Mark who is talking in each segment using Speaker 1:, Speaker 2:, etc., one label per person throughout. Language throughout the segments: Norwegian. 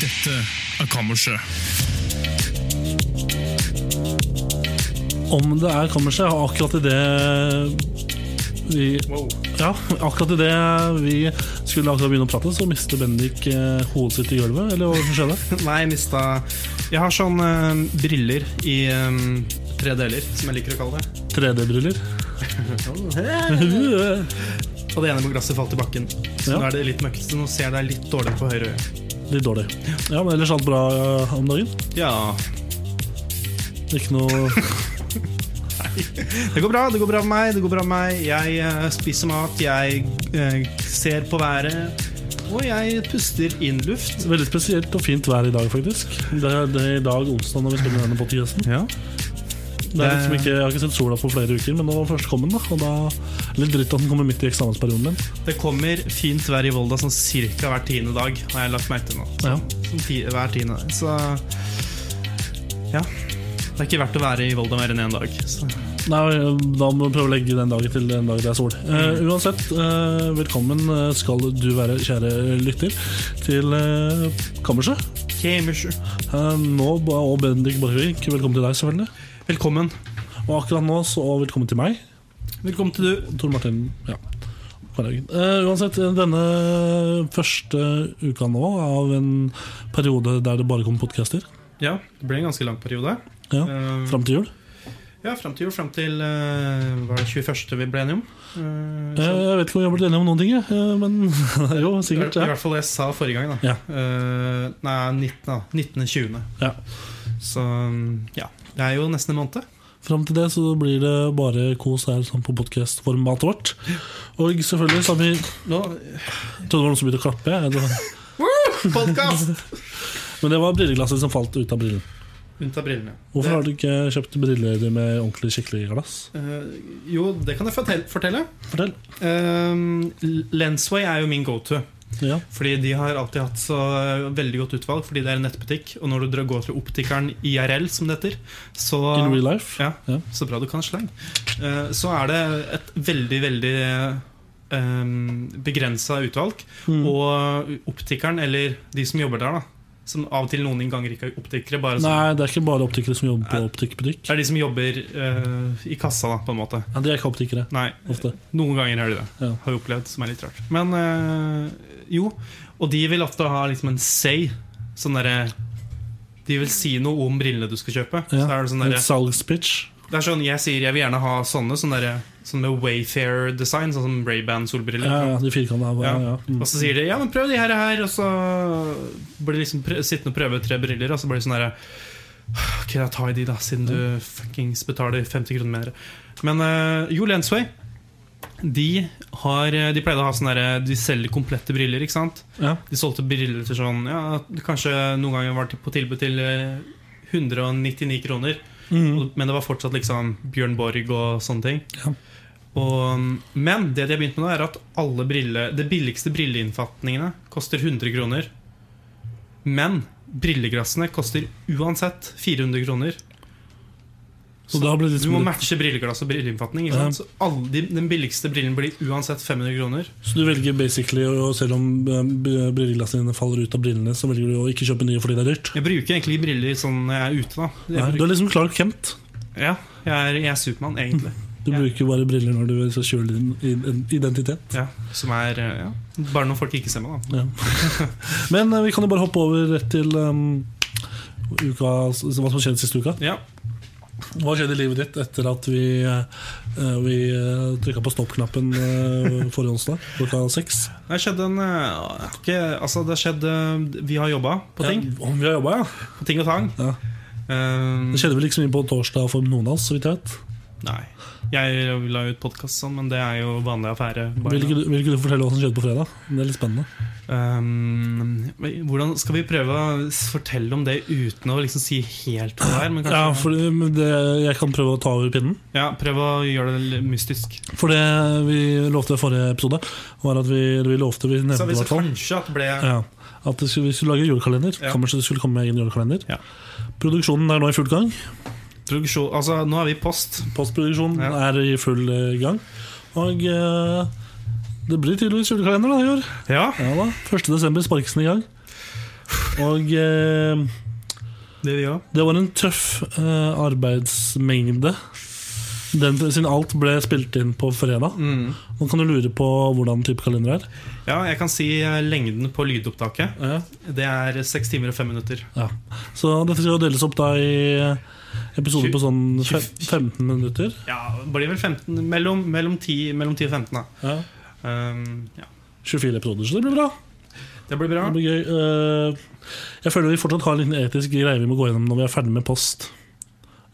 Speaker 1: Dette er Kammerset.
Speaker 2: Om det er kammerset, og akkurat i det vi Ja, akkurat i det vi skulle akkurat begynne å prate, så mister Bendik eh, hodet sitt i gulvet. Eller hva som skjedde?
Speaker 3: Nei, jeg mista Jeg har sånn eh, briller i eh, tre deler, som jeg liker å kalle det.
Speaker 2: 3D-briller.
Speaker 3: Og det ene på glasset falt i bakken. Så
Speaker 2: Ja.
Speaker 3: nå er det litt møkkete. Nå ser jeg deg litt dårlig på høyre øre.
Speaker 2: Litt dårlig. Ja, men ellers alt bra eh, om dagen?
Speaker 3: Ja.
Speaker 2: Ikke noe
Speaker 3: Det går bra. Det går bra med meg. Det går bra med meg. Jeg eh, spiser mat. Jeg eh, ser på været. Og jeg puster inn luft.
Speaker 2: Veldig spesielt og fint vær i dag, faktisk. Det er, det er i dag onsdag når vi spiller denne podcasten.
Speaker 3: Ja.
Speaker 2: Det er liksom ikke, jeg har ikke sett sola på flere uker, men nå først kom den. da Og da Litt dritt at den kommer midt i eksamensperioden min.
Speaker 3: Det kommer fint vær i Volda sånn cirka hver tiende dag, har jeg lagt merke til nå.
Speaker 2: Ja.
Speaker 3: Sånn ti, hver tiende dag. Så ja. Det er ikke verdt å være i Volda mer enn én dag. Så.
Speaker 2: Nei, da må vi prøve å legge den dagen til den dagen det er sol. Eh, uansett, eh, velkommen eh, skal du være, kjære lytter, til eh, Kammerset.
Speaker 3: Gamersju.
Speaker 2: Eh, nå, ba- og Bendik Borgvik, velkommen til deg, selvfølgelig.
Speaker 3: Velkommen.
Speaker 2: Og akkurat nå, så og velkommen til meg,
Speaker 3: Velkommen til du.
Speaker 2: Tor Martin. Ja. Karlhaugen. Eh, uansett, denne første uka nå av en periode der det bare kommer podcaster,
Speaker 3: Ja, det ble en ganske lang periode.
Speaker 2: ja,
Speaker 3: Eh,
Speaker 2: fram til jul.
Speaker 3: ja, Fram til jul. Fram til eh, var det 21. vi ble enige om. Eh,
Speaker 2: Eh,
Speaker 3: så-
Speaker 2: jeg vet ikke om vi har blitt enige om noen ting, jeg, eh, men jo, sikkert.
Speaker 3: I
Speaker 2: Ja.
Speaker 3: hvert fall det jeg sa forrige gang. da
Speaker 2: Ja.
Speaker 3: Eh, Nei, 19. da. 19. 20.
Speaker 2: Ja.
Speaker 3: Så mm, ja. Det er jo nesten en måned.
Speaker 2: Fram til det så blir det bare kos her sånn på podkastformatet vårt. Og selvfølgelig så har vi
Speaker 3: Nå
Speaker 2: Jeg trodde det var noen som begynte å klappe. jeg. Det var-
Speaker 3: Podkast!
Speaker 2: Men det var brilleglasset som falt ut av brillen.
Speaker 3: Unnta brillene.
Speaker 2: Hvorfor har du ikke kjøpt briller med ordentlig skikkelig glass?
Speaker 3: Eh, jo, det kan jeg fortel- fortelle.
Speaker 2: Fortell.
Speaker 3: Eh, Lensway er jo min go-to.
Speaker 2: Ja,
Speaker 3: Fordi De har alltid hatt så eh, veldig godt utvalg, fordi det er en nettbutikk. Og når du drar- går til optikeren IRL, som det heter, så
Speaker 2: In real life.
Speaker 3: ja,
Speaker 2: Ja.
Speaker 3: Så bra du kan slang. Eh, Så er det et veldig, veldig begrensa utvalg.
Speaker 2: Mm.
Speaker 3: Og optikeren, eller de som jobber der, da, som av og til noen ganger ikke er optikere, bare sånn,
Speaker 2: Nei, det er ikke bare optikere som jobber på
Speaker 3: Nei.
Speaker 2: optikkbutikk.
Speaker 3: det er de som jobber eh, i kassa, da, på en måte.
Speaker 2: Ja, de er ikke optikere.
Speaker 3: Nei,
Speaker 2: Ofte.
Speaker 3: noen ganger er de det.
Speaker 2: Ja.
Speaker 3: Har jeg opplevd, som er litt rart. Men eh, jo. Og de vil ofte ha liksom en say. Sånn derre De vil si noe om brillene du skal kjøpe. Så er
Speaker 2: Ja.
Speaker 3: det sånn
Speaker 2: Et
Speaker 3: derre
Speaker 2: salgspitch.
Speaker 3: Det er sånn, Jeg sier jeg vil gjerne ha sånne sånn derre- sånn med Wayfair-design, sånn som Ray-Ban solbriller.
Speaker 2: Ja, ja, de firkanta. Ja,
Speaker 3: Ja.
Speaker 2: ja. Mm.
Speaker 3: Og så sier de ja, men prøv de her, og her og så blir de liksom prø sittende og prøve tre briller, og så blir det sånn herre Ok, da tar jeg de, da, siden du fuckings betaler 50 kroner mer. Men uh, Jo Lensway de, har, de pleide å ha sånn derre De selger komplette briller, ikke sant?
Speaker 2: Ja.
Speaker 3: De solgte briller til sånn Ja, kanskje noen ganger var det på tilbud til eh, 199 kroner.
Speaker 2: Mm.
Speaker 3: Og- Men det var fortsatt liksom Bjørn Borg og sånne ting.
Speaker 2: Ja.
Speaker 3: Og, um, men det de har begynt med nå, er at alle brille, det billigste brilleinnfatningene koster 100 kroner. Men brilleglassene koster uansett 400 kroner.
Speaker 2: Så det har blitt litt
Speaker 3: Du må
Speaker 2: litt-
Speaker 3: matche brilleglass og brilleinnfatning. ikke sant? Så alle de, den billigste brillen blir uansett 500 kroner.
Speaker 2: Så du velger basically, og selv om eh, b- brilleglassene dine faller ut av brillene, så velger du å ikke kjøpe nye fordi det er dyrt?
Speaker 3: Jeg bruker egentlig briller sånn når jeg er ute, da.
Speaker 2: Nei,
Speaker 3: Jeg,
Speaker 2: du er liksom Clark Kent.
Speaker 3: bruker, ja, jeg er, jeg er Supermann, egentlig.
Speaker 2: Du
Speaker 3: Ja.
Speaker 2: bruker bare briller når du vil så skjule din i- en identitet.
Speaker 3: Ja, som er eh, ja, Bare når folk ikke ser meg, da.
Speaker 2: Ja. Men eh, vi kan jo bare hoppe over rett til um, uka, altså, hva som skjedde siste uka.
Speaker 3: Ja,
Speaker 2: Hva skjedde i livet ditt etter at vi, uh, vi trykka på stopp-knappen eh, forrige onsdag klokka seks?
Speaker 3: Det har skjedd en eh, ikke, Altså, det har skjedd eh, Vi har jobba på ting.
Speaker 2: Ja, om vi har jobba, ja.
Speaker 3: På ting og tang.
Speaker 2: Ja.
Speaker 3: Eh,
Speaker 2: Det skjedde vel ikke så mye på torsdag for noen av oss, så vidt jeg vet.
Speaker 3: Nei. Jeg la ut podkast sånn, men det er jo vanlig affære. bare
Speaker 2: Vil
Speaker 3: nå.
Speaker 2: ikke, du, vil ikke du fortelle hva som skjedde på fredag? Det er litt spennende.
Speaker 3: Um, men hvordan Skal vi prøve å s- fortelle om det uten å liksom si helt hva det er? Men kanskje,
Speaker 2: Ja,
Speaker 3: ja,
Speaker 2: for men det, Jeg kan prøve å ta over pinnen.
Speaker 3: Prøv å gjøre det litt mystisk.
Speaker 2: For det vi lovte i forrige episode, var at vi, eller vi lovte vi nevnte
Speaker 3: Så
Speaker 2: det i
Speaker 3: hvis det
Speaker 2: hvert fall,
Speaker 3: kanskje at ble
Speaker 2: ja, at det skulle, vi skulle lage julekalender.
Speaker 3: Ja.
Speaker 2: Kammerset skulle komme med egen julekalender.
Speaker 3: Ja.
Speaker 2: Produksjonen er nå i full gang.
Speaker 3: produksjon Altså, nå er vi post.
Speaker 2: Postproduksjonen
Speaker 3: Ja.
Speaker 2: er i full eh, gang. Og eh, det blir tydeligvis julekalender da i år.
Speaker 3: Ja,
Speaker 2: Ja da, 1. desember sparkes den i gang. Og eh,
Speaker 3: det vi òg.
Speaker 2: det var en tøff eh, arbeidsmengde. Den, siden alt ble spilt inn på fredag.
Speaker 3: Mm.
Speaker 2: Nå kan du lure på hvordan type kalender er.
Speaker 3: Ja, jeg kan si eh, lengden på lydopptaket.
Speaker 2: Ja.
Speaker 3: Det er seks timer og fem minutter.
Speaker 2: Så dette skal jo deles opp da i episoder
Speaker 3: Tju-
Speaker 2: på sånn fe-
Speaker 3: tjue-
Speaker 2: 15 minutter.
Speaker 3: Ja, det blir vel 15 Mellom, mellom, 10, mellom 10 og 15, da.
Speaker 2: Ja.
Speaker 3: Um, ja.
Speaker 2: 24 episoder, så det blir bra.
Speaker 3: Det blir bra.
Speaker 2: Det blir gøy. Eh, jeg føler vi fortsatt har en liten etisk greie vi må gå gjennom når vi er ferdig med post.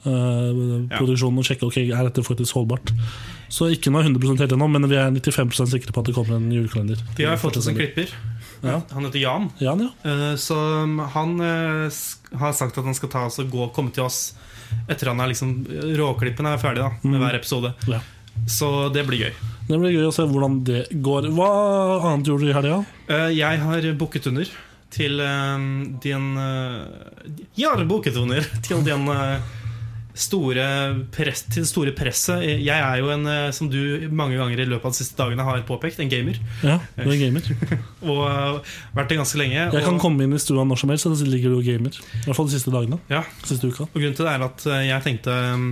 Speaker 2: eh, Produksjonen og sjekke ok, er dette faktisk holdbart. Så ikke noe 100 helt ennå, men vi er 95 sikre på at det kommer en julekalender.
Speaker 3: Vi har fått oss en klipper.
Speaker 2: Ja.
Speaker 3: Han heter Jan.
Speaker 2: Jan, ja.
Speaker 3: Eh, Så um, han eh, sk- har sagt at han skal ta oss og gå, komme til oss etter han er liksom Råklippen er ferdig da med
Speaker 2: Mm.
Speaker 3: hver episode.
Speaker 2: Ja.
Speaker 3: Så det blir gøy.
Speaker 2: Det blir gøy å se hvordan det går. Hva annet gjorde du i helga?
Speaker 3: Eh, Jeg har booket under til um, din eh, Jeg har booket under til den eh, store, press, til det store presset. Jeg er jo en, eh, som du mange ganger i løpet av de siste dagene har påpekt, en gamer.
Speaker 2: Ja, du er gamer.
Speaker 3: Og eh, vært det ganske lenge.
Speaker 2: Jeg kan
Speaker 3: og-
Speaker 2: komme inn i stua når som helst, og så ligger du og gamer. I hvert fall de siste dagene.
Speaker 3: Ja.
Speaker 2: Siste uka.
Speaker 3: Og grunnen til det er at eh, jeg tenkte mm,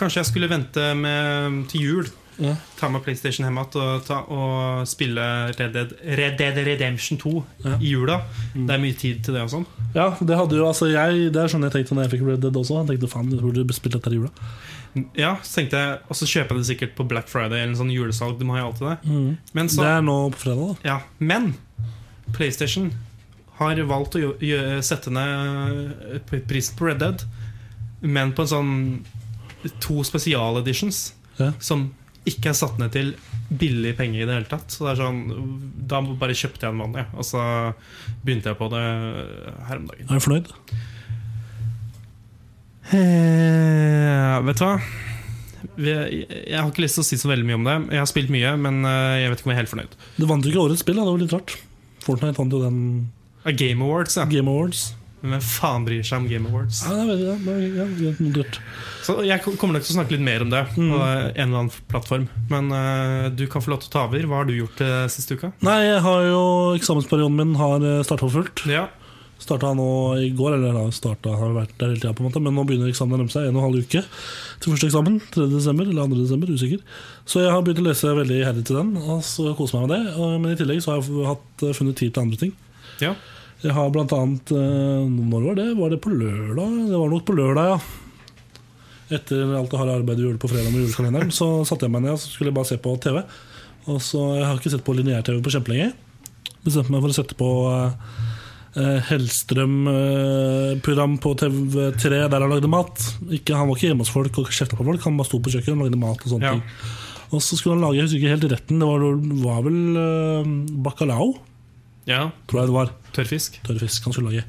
Speaker 3: Kanskje jeg skulle vente med, til jul.
Speaker 2: Ja.
Speaker 3: Ta med PlayStation hjem igjen og, ta- og spille Red Dead, Red Dead Redemption 2
Speaker 2: Ja.
Speaker 3: i jula.
Speaker 2: Mm.
Speaker 3: Det er mye tid til det og sånn.
Speaker 2: ja, det hadde jo altså jeg Det er sånn jeg tenkte når jeg fikk Red Dead også. Jeg tenkte faen, jeg burde spilt dette i jula.
Speaker 3: Ja, så tenkte jeg Og så kjøper jeg det sikkert på Black Friday eller en sånn julesalg. Det må jeg alltid det.
Speaker 2: Mhm.
Speaker 3: Men,
Speaker 2: Det
Speaker 3: så,
Speaker 2: er nå på fredag, da.
Speaker 3: ja. Men PlayStation har valgt å gjø- gjø- sette ned eh, p- prisen på Red Dead, men på en sånn to spesialeditions.
Speaker 2: Ja.
Speaker 3: som ikke er satt ned til billig penge i det hele tatt. Så det er sånn, Da bare kjøpte jeg en vanlig, og så begynte jeg på det her om dagen.
Speaker 2: Er du fornøyd?
Speaker 3: Eh, vet du hva? Vi, jeg har ikke lyst til å si så veldig mye om det. Jeg har spilt mye, men eh, jeg vet ikke om jeg er helt fornøyd.
Speaker 2: Det vant jo ikke årets spill, da. det var litt rart. Fortnite vant jo den
Speaker 3: Ah, Game Awards, ja.
Speaker 2: Game Awards.
Speaker 3: Men Hvem faen bryr seg om Game Awards?
Speaker 2: Ja, det er veldig, ja, det er- ja, det er noe dørt.
Speaker 3: Så jeg kom- kommer nok til å snakke litt mer om det
Speaker 2: Mm.
Speaker 3: på en eller annen plattform. Men eh, du kan få lov til å ta over. Hva har du gjort eh, siste uka?
Speaker 2: Nei, jeg har jo eksamensperioden min har starta for fullt.
Speaker 3: Ja,
Speaker 2: Starta nå i går, eller da startet, har vært der hele tida, på en måte, men nå begynner eksamen å nærme seg. En og en halv uke til første eksamen. 3. desember, eller 2. desember, usikker. Så jeg har begynt å lese veldig iherdig til den, og så koser meg med det. Og- Men i tillegg så har jeg hatt, eh, funnet tid til andre ting.
Speaker 3: ja.
Speaker 2: Jeg har blant annet eh, Når var det? Var det på lørdag? Det var nok på lørdag, ja. Etter alt det harde arbeidet vi gjorde på fredag med julekalenderen, så satte jeg meg ned og så skulle jeg bare se på TV. Og så, Jeg har ikke sett på lineær-TV på kjempelenge. Bestemte meg for å sette på eh, Hellstrøm-program på TV3 der han lagde mat. Ikke, han var ikke hjemme hos folk og kjefta på folk, han bare sto på kjøkkenet og lagde mat. Og sånne
Speaker 3: Ja.
Speaker 2: ting Og så skulle han lage jeg husker ikke helt retten, det var, var vel eh, bacalao,
Speaker 3: ja.
Speaker 2: tror jeg det var
Speaker 3: Tørrfisk.
Speaker 2: tørrfisk han skulle lage.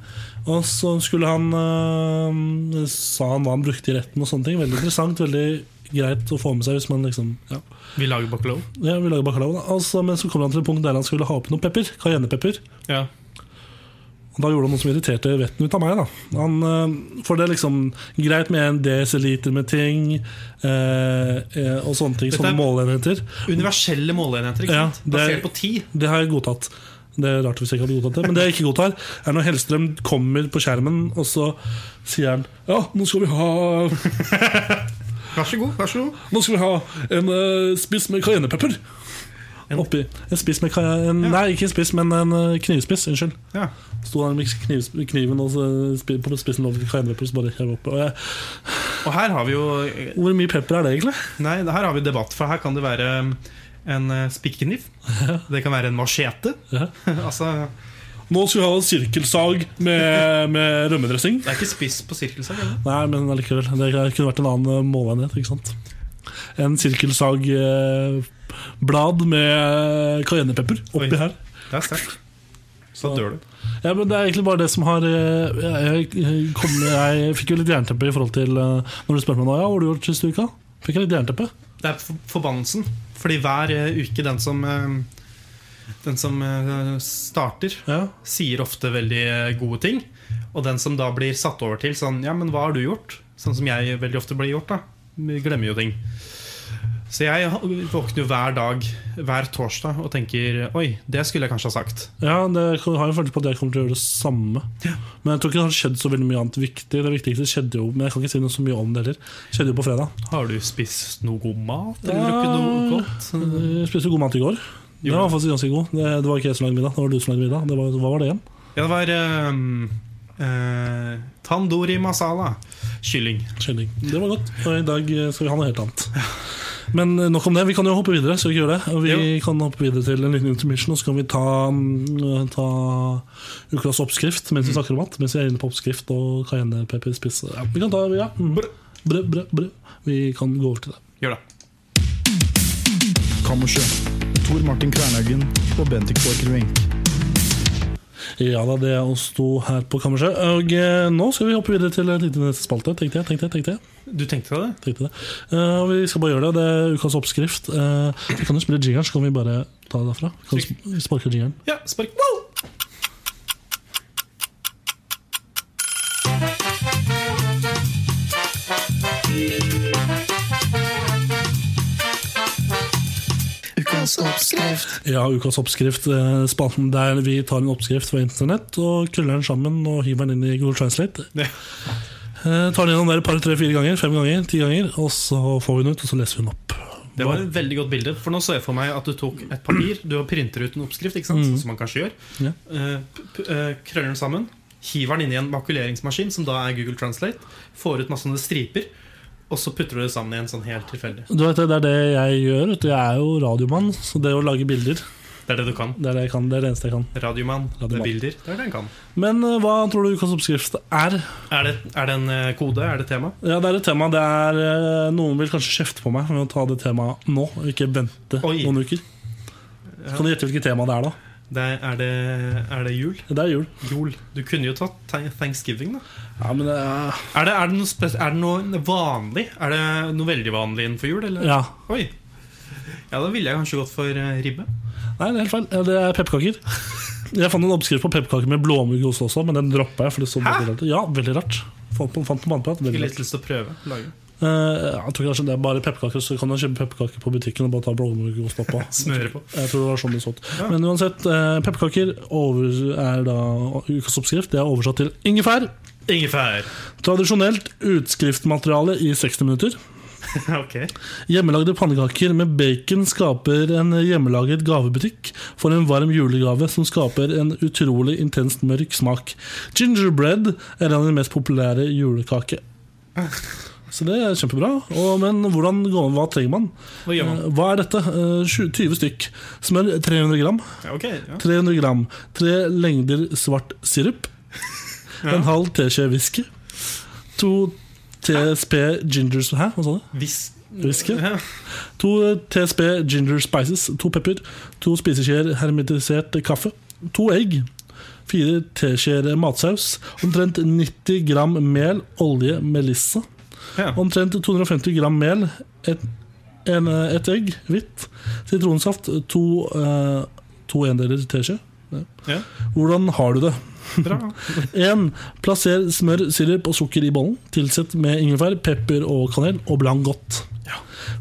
Speaker 2: Og så skulle han øh, sa han hva han brukte i retten og sånne ting. Veldig interessant, veldig greit å få med seg hvis man liksom Ja,
Speaker 3: Vi lager bacalao.
Speaker 2: ja vi lager bacalao, da. Og så- men så kom han til et punkt der han skulle ha oppi noe pepper. Cayennepepper.
Speaker 3: Ja.
Speaker 2: Og da gjorde han noe som irriterte vetten ut av meg. da han, øh, For det er liksom greit med en desiliter med ting øh, eh, og sånne ting,
Speaker 3: Dette
Speaker 2: sånne
Speaker 3: er-
Speaker 2: måleenheter.
Speaker 3: Universelle måleenheter, ikke
Speaker 2: Ja,
Speaker 3: sant?
Speaker 2: det er-
Speaker 3: Basert på ti.
Speaker 2: Det har jeg godtatt. Det er rart hvis jeg ikke hadde godtatt det, men det jeg ikke godtar, er når Hellstrøm kommer på skjermen, og så sier han Ja, nå skal vi ha,
Speaker 3: Vær så god. vær så god
Speaker 2: nå skal vi ha en eh, spiss med cayennepepper.
Speaker 3: En-
Speaker 2: Oppi. En spiss med cayenne... en-
Speaker 3: Ja.
Speaker 2: Nei, ikke en spiss, men en eh, knivspiss. Unnskyld.
Speaker 3: Ja.
Speaker 2: Sto der med kniv, kniven og så spi- på spissen lå det cayennepepper, så bare hev oppi. Og jeg-
Speaker 3: Og her har vi jo eh,
Speaker 2: Hvor mye pepper er det, egentlig?
Speaker 3: Nei, her har vi debatt, for her kan det være um, en eh, spikkekniv. Det kan være en machete.
Speaker 2: Ja.
Speaker 3: altså
Speaker 2: Nå skal vi ha en sirkelsag med, med rømmedressing.
Speaker 3: Det er ikke spiss på sirkelsag? er det?
Speaker 2: Nei, men allikevel. Det kunne vært en annen eh, målenhet, ikke sant? En sirkelsagblad med eh, cayennepepper oppi
Speaker 3: Oi.
Speaker 2: her.
Speaker 3: Det er sterkt. Så dør du.
Speaker 2: Ja, men Det er egentlig bare det som har eh, Jeg, jeg, kom, jeg fikk jo litt jernteppe i forhold til eh, Når du spurte meg nå, ja, hva har du gjort siste uka? Fikk jeg litt jernteppe?
Speaker 3: Det er for- forbannelsen. Fordi hver eh, uke den som eh, Den som eh, starter,
Speaker 2: Ja.
Speaker 3: sier ofte veldig eh, gode ting. Og den som da blir satt over til sånn Ja, men hva har du gjort? Sånn som jeg veldig ofte blir gjort, da. Vi Glemmer jo ting. Så jeg ha- våkner jo hver dag, hver torsdag, og tenker Oi, det skulle jeg kanskje ha sagt.
Speaker 2: ja det jeg har jo en følelse på at jeg kommer til å gjøre det samme. Men jeg tror ikke det har skjedd så veldig mye annet viktig. Det viktigste skjedde jo Men jeg kan ikke si noe så mye om det heller. Skjedde jo på fredag.
Speaker 3: Har du spist noe god mat?
Speaker 2: Ja.
Speaker 3: Eller drukket noe godt?
Speaker 2: Jeg spiste jo god mat i går. Det var faktisk ganske god. Det, det var ikke jeg som lagde middag, det var du som lagde middag. Det var, hva var det igjen?
Speaker 3: Ja, det var ehm, eh, Tandoori masala. Kylling.
Speaker 2: Kylling. Det var godt. Og i dag eh, skal vi ha noe helt annet. Men eh, nok om det. Vi kan jo hoppe videre. Skal vi ikke gjøre det? Vi
Speaker 3: Jo.
Speaker 2: kan hoppe videre til en liten intermission, og så kan vi ta, mm, ta ukas oppskrift mens vi snakker om mat. Mens vi er inne på oppskrift og cayennepepper spisse. Ja, vi kan ta ja. mm. Brød, brød, brød. Vi kan gå over til det.
Speaker 3: Gjør det.
Speaker 1: Kammerset. Tor Martin Kvernhaugen og Bendik Borchgrevink.
Speaker 2: Ja da, det er oss to her på kammerset. Og eh, nå skal vi hoppe videre til en liten spalte, tenkte jeg. tenkte jeg, tenkte jeg.
Speaker 3: Du tenkte deg det?
Speaker 2: tenkte det. Eh, og vi skal bare gjøre det. Det er ukas oppskrift. Eh, vi kan jo spille jingeren, så kan vi bare ta det derfra. Kan vi sp- sparke jingeren.
Speaker 3: Ja, spark. Wow!
Speaker 2: Ja, ukas oppskrift. eh, Spalten der vi tar en oppskrift fra internett og krøller den sammen og hiver den inn i Google Translate.
Speaker 3: Ja.
Speaker 2: Eh, tar den gjennom der et par, tre, fire ganger, fem ganger, ti ganger, og så får vi den ut, og så leser vi den opp.
Speaker 3: Det var et veldig godt bilde. For nå så jeg for meg at du tok et papir, du har printer ut en oppskrift, ikke sant? som man kanskje gjør.
Speaker 2: Mm. Ja.
Speaker 3: Eh, p- p- eh, krøller den sammen, hiver den inn i en makuleringsmaskin, som da er Google Translate. Får ut masse sånne striper, og så putter du det sammen igjen sånn helt tilfeldig.
Speaker 2: Du vet, det det er det jeg gjør. Vet du. Jeg er jo radiomann, så det å lage bilder,
Speaker 3: Det er det du kan.
Speaker 2: det er det, jeg kan, det, er det eneste jeg kan.
Speaker 3: Radiomann, det
Speaker 2: Radiomann.
Speaker 3: er bilder. Det er det en kan.
Speaker 2: Men eh, hva tror du ukas oppskrift er?
Speaker 3: Er det, er det en eh, kode? Er det tema?
Speaker 2: Ja, det er et tema. Det er, eh, noen vil kanskje kjefte på meg med å ta det temaet nå, og ikke vente
Speaker 3: Oi.
Speaker 2: noen uker. Så kan du gjette hvilket tema det er, da?
Speaker 3: Det er, er, det, er det jul?
Speaker 2: Det er jul.
Speaker 3: Jul. Du kunne jo tatt thank- thanksgiving, da.
Speaker 2: Ja, men det er...
Speaker 3: Er det, er det, noe, spes er det noe vanlig? Er det noe veldig vanlig innenfor jul? Eller?
Speaker 2: ja.
Speaker 3: Oi. Ja, da ville jeg kanskje gått for eh, ribbe.
Speaker 2: Nei, det er helt feil. Ja, Det er pepperkaker. Jeg fant en oppskrift på pepperkaker med blåmuggost også, men den droppa jeg. for det så veldig rart. ut. Ja, veldig rart. Fant på, fant på mannprat,
Speaker 3: Fikk
Speaker 2: veldig
Speaker 3: litt
Speaker 2: rart.
Speaker 3: lyst til å prøve. Lage.
Speaker 2: Eh, jeg tror kanskje det er bare pepperkaker, så kan du kjøpe pepperkaker på butikken og bare ta blåmuggost oppå.
Speaker 3: Smøre på.
Speaker 2: Jeg tror det var sånn det så ut.
Speaker 3: Ja.
Speaker 2: Men uansett, eh, pepperkaker over, er da ukas oppskrift. Det er oversatt til ingefær.
Speaker 3: Ingefær.
Speaker 2: Tradisjonelt utskriftmateriale i 60 minutter.
Speaker 3: ok.
Speaker 2: Hjemmelagde pannekaker med bacon skaper en hjemmelaget gavebutikk for en varm julegave som skaper en utrolig intenst mørk smak. Gingerbread er en av de mest populære julekake. Så det er kjempebra. Og, men hvordan går hva trenger man?
Speaker 3: Hva gjør man?
Speaker 2: Eh, Hva er dette? Eh, 20 20 stykk. Smør 300 gram.
Speaker 3: Ja, ok, ja.
Speaker 2: 300 gram. Tre lengder svart sirup. En halv teskje whisky. To TSP ginger Hæ, hva sa du?
Speaker 3: Hvis
Speaker 2: Whisky?
Speaker 3: Ja.
Speaker 2: To eh, TSP ginger spices. To pepper. To spiseskjeer hermetisert kaffe. To egg. Fire teskjeer matsaus. Omtrent 90 gram mel, olje, melissa.
Speaker 3: Ja.
Speaker 2: Omtrent 250 gram mel, et, en, eh, et egg, hvitt, sitronsaft, to, eh, to endeler teskje.
Speaker 3: Ja.
Speaker 2: Hvordan har du det?
Speaker 3: Bra.
Speaker 2: 1. Plasser smør, sirup og sukker i bollen. Tilsett med ingefær, pepper og kanel, og bland godt.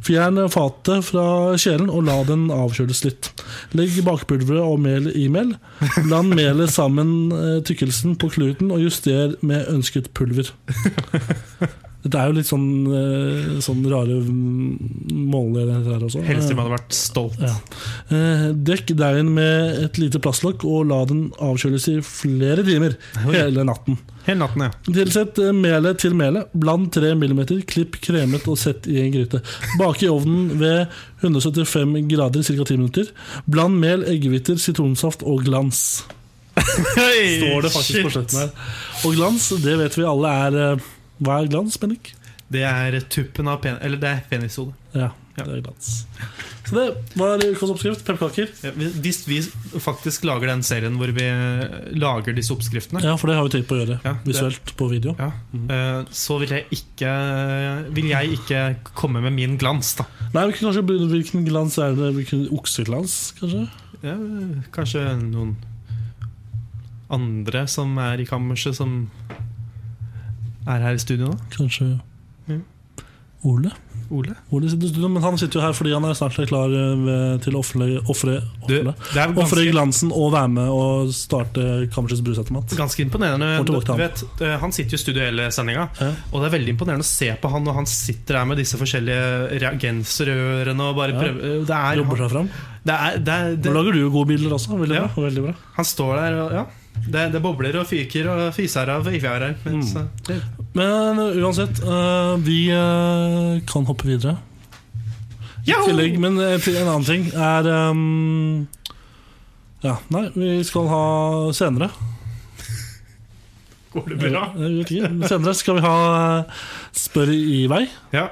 Speaker 2: Fjern fatet fra kjelen og la den avkjøles litt. Legg bakpulveret og mel i mel. Bland melet sammen eh, tykkelsen på kluten og juster med ønsket pulver. Dette er jo litt sånn, eh, sånn rare måleenheter her også.
Speaker 3: Helst om jeg hadde vært stolt.
Speaker 2: Ja. Eh, Dekk deigen med et lite plastlokk og la den avkjøles i flere timer hele natten.
Speaker 3: Hele natten, ja.
Speaker 2: Tilsett eh, melet til melet. Bland 3 mm, klipp kremet og sett i en gryte. Bak i ovnen ved 175 grader i ca. 10 minutter. Bland mel, eggehviter, sitronsaft og glans. Står det faktisk på slutten her. Og glans, det vet vi alle er eh, Hva er glans, Bennik?
Speaker 3: Det er tuppen av pen... Eller det er penishode.
Speaker 2: Ja,
Speaker 3: Ja.
Speaker 2: det er glans. Så det var ukas oppskrift. Pepperkaker.
Speaker 3: Ja, vi- Hvis vi faktisk lager den serien hvor vi eh, lager disse oppskriftene,
Speaker 2: Ja, for det har vi tenkt på å gjøre.
Speaker 3: Ja, det-
Speaker 2: Visuelt på video.
Speaker 3: ja, eh, så vil jeg ikke Vil jeg ikke komme med min glans, da.
Speaker 2: Nei, vi kunne kanskje begynne Hvilken glans er det? Hvilken Okseglans, kanskje?
Speaker 3: Ja, kanskje noen andre som er i kammerset, som er her i studio nå?
Speaker 2: Kanskje
Speaker 3: Mm.
Speaker 2: Ole?
Speaker 3: Ole?
Speaker 2: Ole sitter i studio, men han sitter jo her fordi han er snart klar eh, ved- til å ofre ofre-
Speaker 3: Du,
Speaker 2: ofre-
Speaker 3: det er
Speaker 2: Ofre
Speaker 3: ganske,
Speaker 2: glansen og være med og starte Kammersets brusautomat.
Speaker 3: ganske imponerende.
Speaker 2: Får
Speaker 3: Du
Speaker 2: tilbake til han.
Speaker 3: vet, eh, han sitter jo i studio hele sendinga,
Speaker 2: Ja.
Speaker 3: og det er veldig imponerende å se på han når han sitter her med disse forskjellige reagensrørene og bare
Speaker 2: Ja.
Speaker 3: prøver det er,
Speaker 2: Jobber sånn.
Speaker 3: han,
Speaker 2: seg fram.
Speaker 3: det er, det er,
Speaker 2: Nå
Speaker 3: det,
Speaker 2: lager du jo gode bilder også. Veldig
Speaker 3: Ja.
Speaker 2: bra. Veldig bra.
Speaker 3: han står der og ja. Det, det bobler og fyker og fiser og ivjer her.
Speaker 2: Mm.
Speaker 3: Men, så, det,
Speaker 2: Men uh, uansett, uh, vi uh, kan hoppe videre. I
Speaker 3: Yahoo!
Speaker 2: tillegg, men uh, til en annen ting er um, Ja, nei, vi skal ha senere.
Speaker 3: går det bra?
Speaker 2: Jeg vet ikke. Senere skal vi ha uh, Spør i vei.
Speaker 3: Ja.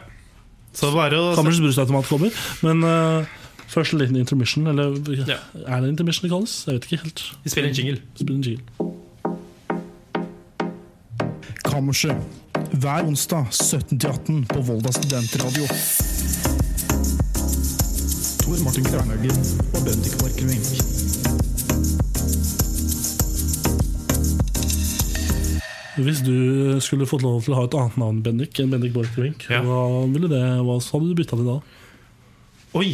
Speaker 3: Så bare å
Speaker 2: Kammers brusautomat kommer. Men uh, først en liten intermission. Eller
Speaker 3: Ja.
Speaker 2: er det intermission det kalles? Jeg vet ikke helt.
Speaker 3: Vi spiller en jingle.
Speaker 2: Spill en jingle.
Speaker 1: Kammerset. Hver onsdag 17-18 på Volda studentradio. Tor Martin Kvernhaugen og Bendik Borchgrevink.
Speaker 2: Hvis du skulle fått lov til å ha et annet navn Bendik enn Bendik Borchgrevink,
Speaker 3: Ja.
Speaker 2: hva ville det, hva hadde du bytta til da?
Speaker 3: Oi!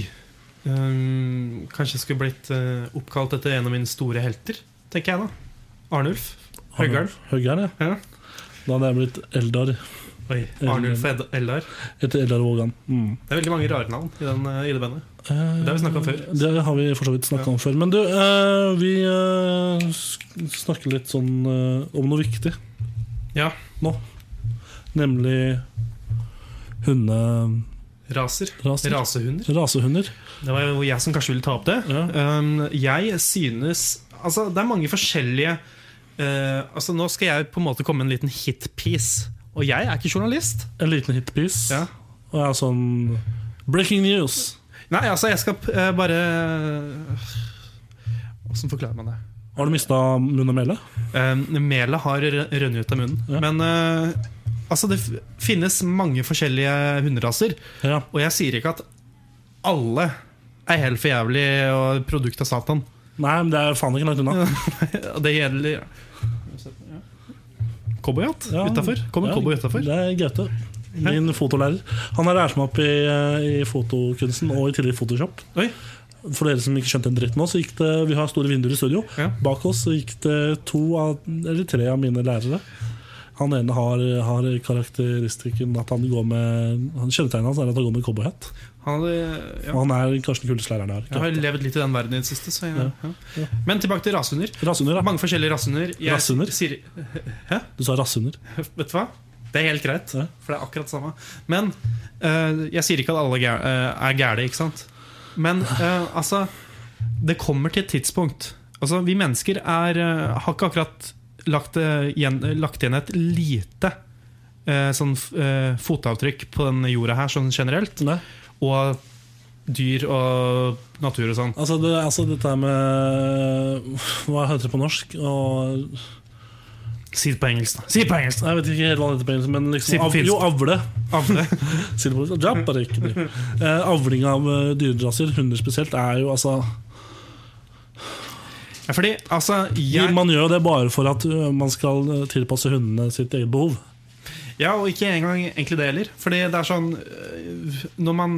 Speaker 3: Ehm, kanskje jeg skulle blitt eh, oppkalt etter en av mine store helter, tenker jeg da. Arnulf. Høggarn.
Speaker 2: Høggarn, ja.
Speaker 3: Ja.
Speaker 2: Da hadde jeg blitt Eldar
Speaker 3: Oi, Arnulf Ed- Eldar.
Speaker 2: etter Eldar Vågan.
Speaker 3: Det er veldig mange rare navn i, den, eh, i det bandet.
Speaker 2: Det
Speaker 3: Mm. Det har vi snakket om før.
Speaker 2: Det har vi for så vidt snakka om før. Men du, eh, vi eh, sk- snakker litt sånn eh, om noe viktig
Speaker 3: Ja.
Speaker 2: nå. Nemlig hunderaser.
Speaker 3: Raser. Rasehunder.
Speaker 2: Rasehunder.
Speaker 3: Det var jo jeg som kanskje ville ta opp det.
Speaker 2: Ja.
Speaker 3: Ehm, jeg synes Altså, det er mange forskjellige eh, Altså, nå skal jeg på en måte komme med en liten hitpiece. Og jeg er ikke journalist.
Speaker 2: En liten hitpiece.
Speaker 3: Ja.
Speaker 2: Og jeg er sånn Breaking news!
Speaker 3: Nei, altså, jeg skal eh, bare Åssen forklarer man det?
Speaker 2: Har du mista munn og mæle?
Speaker 3: Eh, melet har r- rønnet ut av munnen.
Speaker 2: Ja.
Speaker 3: Men eh, altså, det f- finnes mange forskjellige hunderaser.
Speaker 2: Ja.
Speaker 3: Og jeg sier ikke at alle er helt for jævlig og produkt av Satan.
Speaker 2: Nei, men det er faen ikke langt unna.
Speaker 3: Det gjelder Cowboyhatt
Speaker 2: Ja.
Speaker 3: utafor. Kommer
Speaker 2: Ja,
Speaker 3: cowboy utafor.
Speaker 2: Det er Gaute. Min fotolærer. Han har lært meg opp i, eh, i fotokunsten og i tillegg Photoshop.
Speaker 3: Oi.
Speaker 2: For dere som ikke skjønte en dritt nå, så gikk det Vi har store vinduer i studio.
Speaker 3: Ja.
Speaker 2: Bak oss så gikk det to av, eller tre av mine lærere. Han ene har, har karakteristikken at han går med Han Kjennetegnet hans er at han går med cowboyhatt.
Speaker 3: Han hadde, ja.
Speaker 2: Og han er kanskje den kuleste læreren
Speaker 3: Jeg
Speaker 2: jeg har.
Speaker 3: har levd litt i den verden i det siste. Så jeg,
Speaker 2: Ja.
Speaker 3: ja.
Speaker 2: Ja.
Speaker 3: Men tilbake til rasehunder.
Speaker 2: Rasshunder, ja.
Speaker 3: Mange forskjellige rasehunder. Jeg
Speaker 2: Rasehunder?
Speaker 3: Sier,
Speaker 2: Du sa rasshunder.
Speaker 3: Vet du hva? Det er helt greit,
Speaker 2: Ja.
Speaker 3: for det er akkurat samme. Men eh, jeg sier ikke at alle gæ- eh, er gæle, ikke sant? Men eh, altså Det kommer til et tidspunkt. Altså, vi mennesker er, eh, har ikke akkurat lagt, eh, igjen, lagt igjen et lite eh, sånn eh, fotavtrykk på denne jorda her, sånn generelt.
Speaker 2: Nei.
Speaker 3: Og dyr og natur og sånn.
Speaker 2: Altså, det, altså dette her med Hva heter det på norsk? Og
Speaker 3: Si det på engelsk, da. Si det på engelsk!
Speaker 2: Jeg vet ikke helt hva det heter på engelsk, men
Speaker 3: Si
Speaker 2: liksom,
Speaker 3: på
Speaker 2: av,
Speaker 3: finsk.
Speaker 2: jo, avle.
Speaker 3: Avle.
Speaker 2: Si det på finsk. Ja, bare ikke det. Eh, avling av eh, dyreraser, hunder spesielt, er jo altså
Speaker 3: Ja, fordi, altså jeg,
Speaker 2: Man gjør jo det bare for at ø, man skal ø, tilpasse hundene sitt eget behov.
Speaker 3: Ja, og ikke engang egentlig det heller. Fordi det er sånn øh, Når man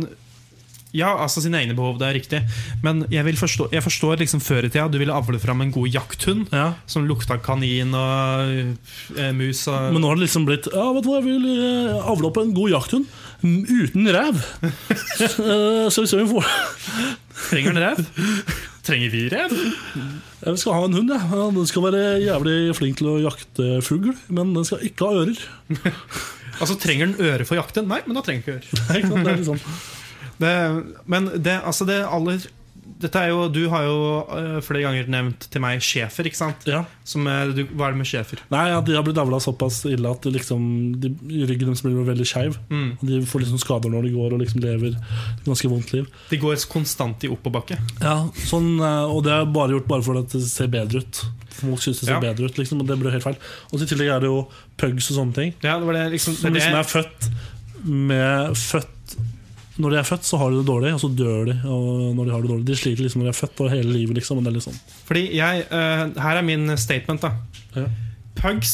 Speaker 3: Ja, altså sine egne behov, det er riktig. Men jeg, vil forstå, jeg forstår liksom før i tida du ville avle fram en god jakthund. eh, Som lukta kanin og øh, mus og
Speaker 2: Men nå har det liksom blitt Ja, vet du hva, jeg vil ø, avle opp en god jakthund mm, uten ræv. Eh, så hvis vi får
Speaker 3: Trenger den rev? Trenger vi rev?
Speaker 2: Jeg skal ha en hund, jeg. Ja. Den skal være jævlig flink til å jakte fugl, men den skal ikke ha ører.
Speaker 3: Altså, trenger den øre for å jakte? Nei, men da trenger den ikke øre.
Speaker 2: Ikke sant? Det er liksom.
Speaker 3: Det, men det, altså det aller dette er jo, Du har jo eh, flere ganger nevnt til meg Schæfer, ikke sant?
Speaker 2: Ja.
Speaker 3: Som, eh, du, hva er det med Schæfer?
Speaker 2: Nei, ja, de har blitt avla såpass ille at det liksom, de, ryggen deres blir veldig skeiv.
Speaker 3: Mm.
Speaker 2: De får liksom skader når de går og liksom lever et ganske vondt liv.
Speaker 3: De går konstant i oppoverbakke.
Speaker 2: Ja, sånn, eh, Og det er bare gjort bare for at det ser bedre ut. Folk synes det ser
Speaker 3: Ja.
Speaker 2: bedre ut, liksom, og det blir jo helt feil. Og så i tillegg er det jo pugs og sånne ting.
Speaker 3: Ja, det var det liksom,
Speaker 2: Som
Speaker 3: det,
Speaker 2: liksom er født med født Når de er født, så har de det dårlig, og så dør de og når de har det dårlig. De sliter liksom når de er født og hele livet, liksom. Og det er litt sånn.
Speaker 3: Fordi jeg, eh, Her er min statement. da
Speaker 2: Ja.
Speaker 3: Pugs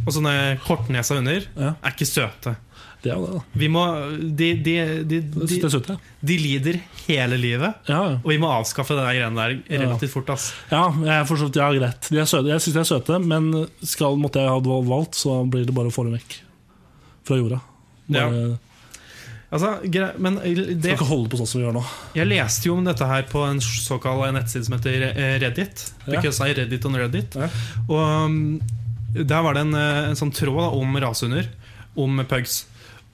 Speaker 3: og sånne kortnesa hunder
Speaker 2: Ja.
Speaker 3: er ikke søte.
Speaker 2: Det er jo det, da.
Speaker 3: Vi må, de, de, de,
Speaker 2: Det
Speaker 3: de,
Speaker 2: er søtt, ja.
Speaker 3: de lider hele livet,
Speaker 2: Ja, ja.
Speaker 3: og vi må avskaffe det der greiene der relativt fort. ass
Speaker 2: Ja, jeg er for så vidt, ja, greit. De er søte. Jeg syns de er søte, men skal, måtte jeg ha valgt, så blir det bare å få dem vekk fra jorda. Bare,
Speaker 3: Altså, gre men
Speaker 2: Skal
Speaker 3: det,
Speaker 2: ikke holde på sånn som vi gjør nå.
Speaker 3: jeg leste jo om dette her på en såkalt nettside som heter eh, Reddit.
Speaker 2: Ja.
Speaker 3: Because I Reddit on Reddit.
Speaker 2: Ja.
Speaker 3: Og um, der var det en, eh, en sånn tråd da, om rasehunder, om pugs.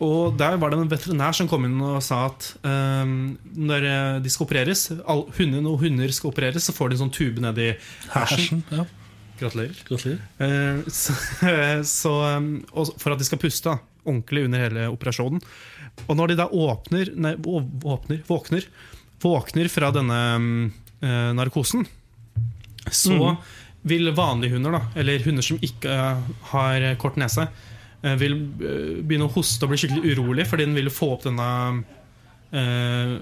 Speaker 3: Og der var det en veterinær som kom inn og sa at um, når eh, de skal opereres, all, hunder, når hunder skal opereres, så får de en sånn tube nedi hersen.
Speaker 2: Ja,
Speaker 3: Gratulerer.
Speaker 2: gratulerer.
Speaker 3: Eh, så, så, um, og for at de skal puste da, ordentlig under hele operasjonen. Og når de da åpner, nei, å- åpner våkner, våkner fra denne um, eh, narkosen, så
Speaker 2: Mhm.
Speaker 3: vil vanlige hunder, da, eller hunder som ikke eh, har kort nese, eh, vil eh, begynne å hoste og bli skikkelig urolig, fordi den vil få opp denne eh,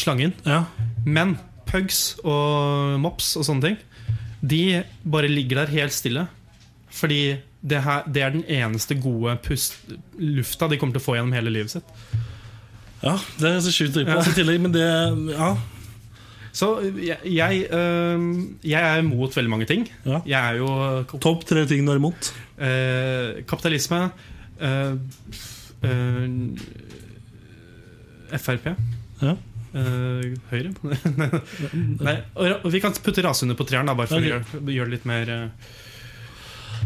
Speaker 3: slangen.
Speaker 2: Ja.
Speaker 3: Men pugs og mops og sånne ting, de bare ligger der helt stille. Fordi det, her, det er den eneste gode pust, lufta de kommer til å få gjennom hele livet sitt.
Speaker 2: ja, det er så sjukt å tenke på. Altså, I tillegg, men det Ja.
Speaker 3: Så jeg, jeg, øhm, jeg er imot veldig mange ting.
Speaker 2: Ja.
Speaker 3: Jeg er jo kap-
Speaker 2: Topp tre ting du er imot.
Speaker 3: øh, kapitalisme øh, øh, Frp.
Speaker 2: Ja.
Speaker 3: Øh, Høyre? Nei, og ra- og vi kan putte rasehunder på treeren, da, bare for
Speaker 2: Ok.
Speaker 3: å gjøre, gjøre det litt mer eh.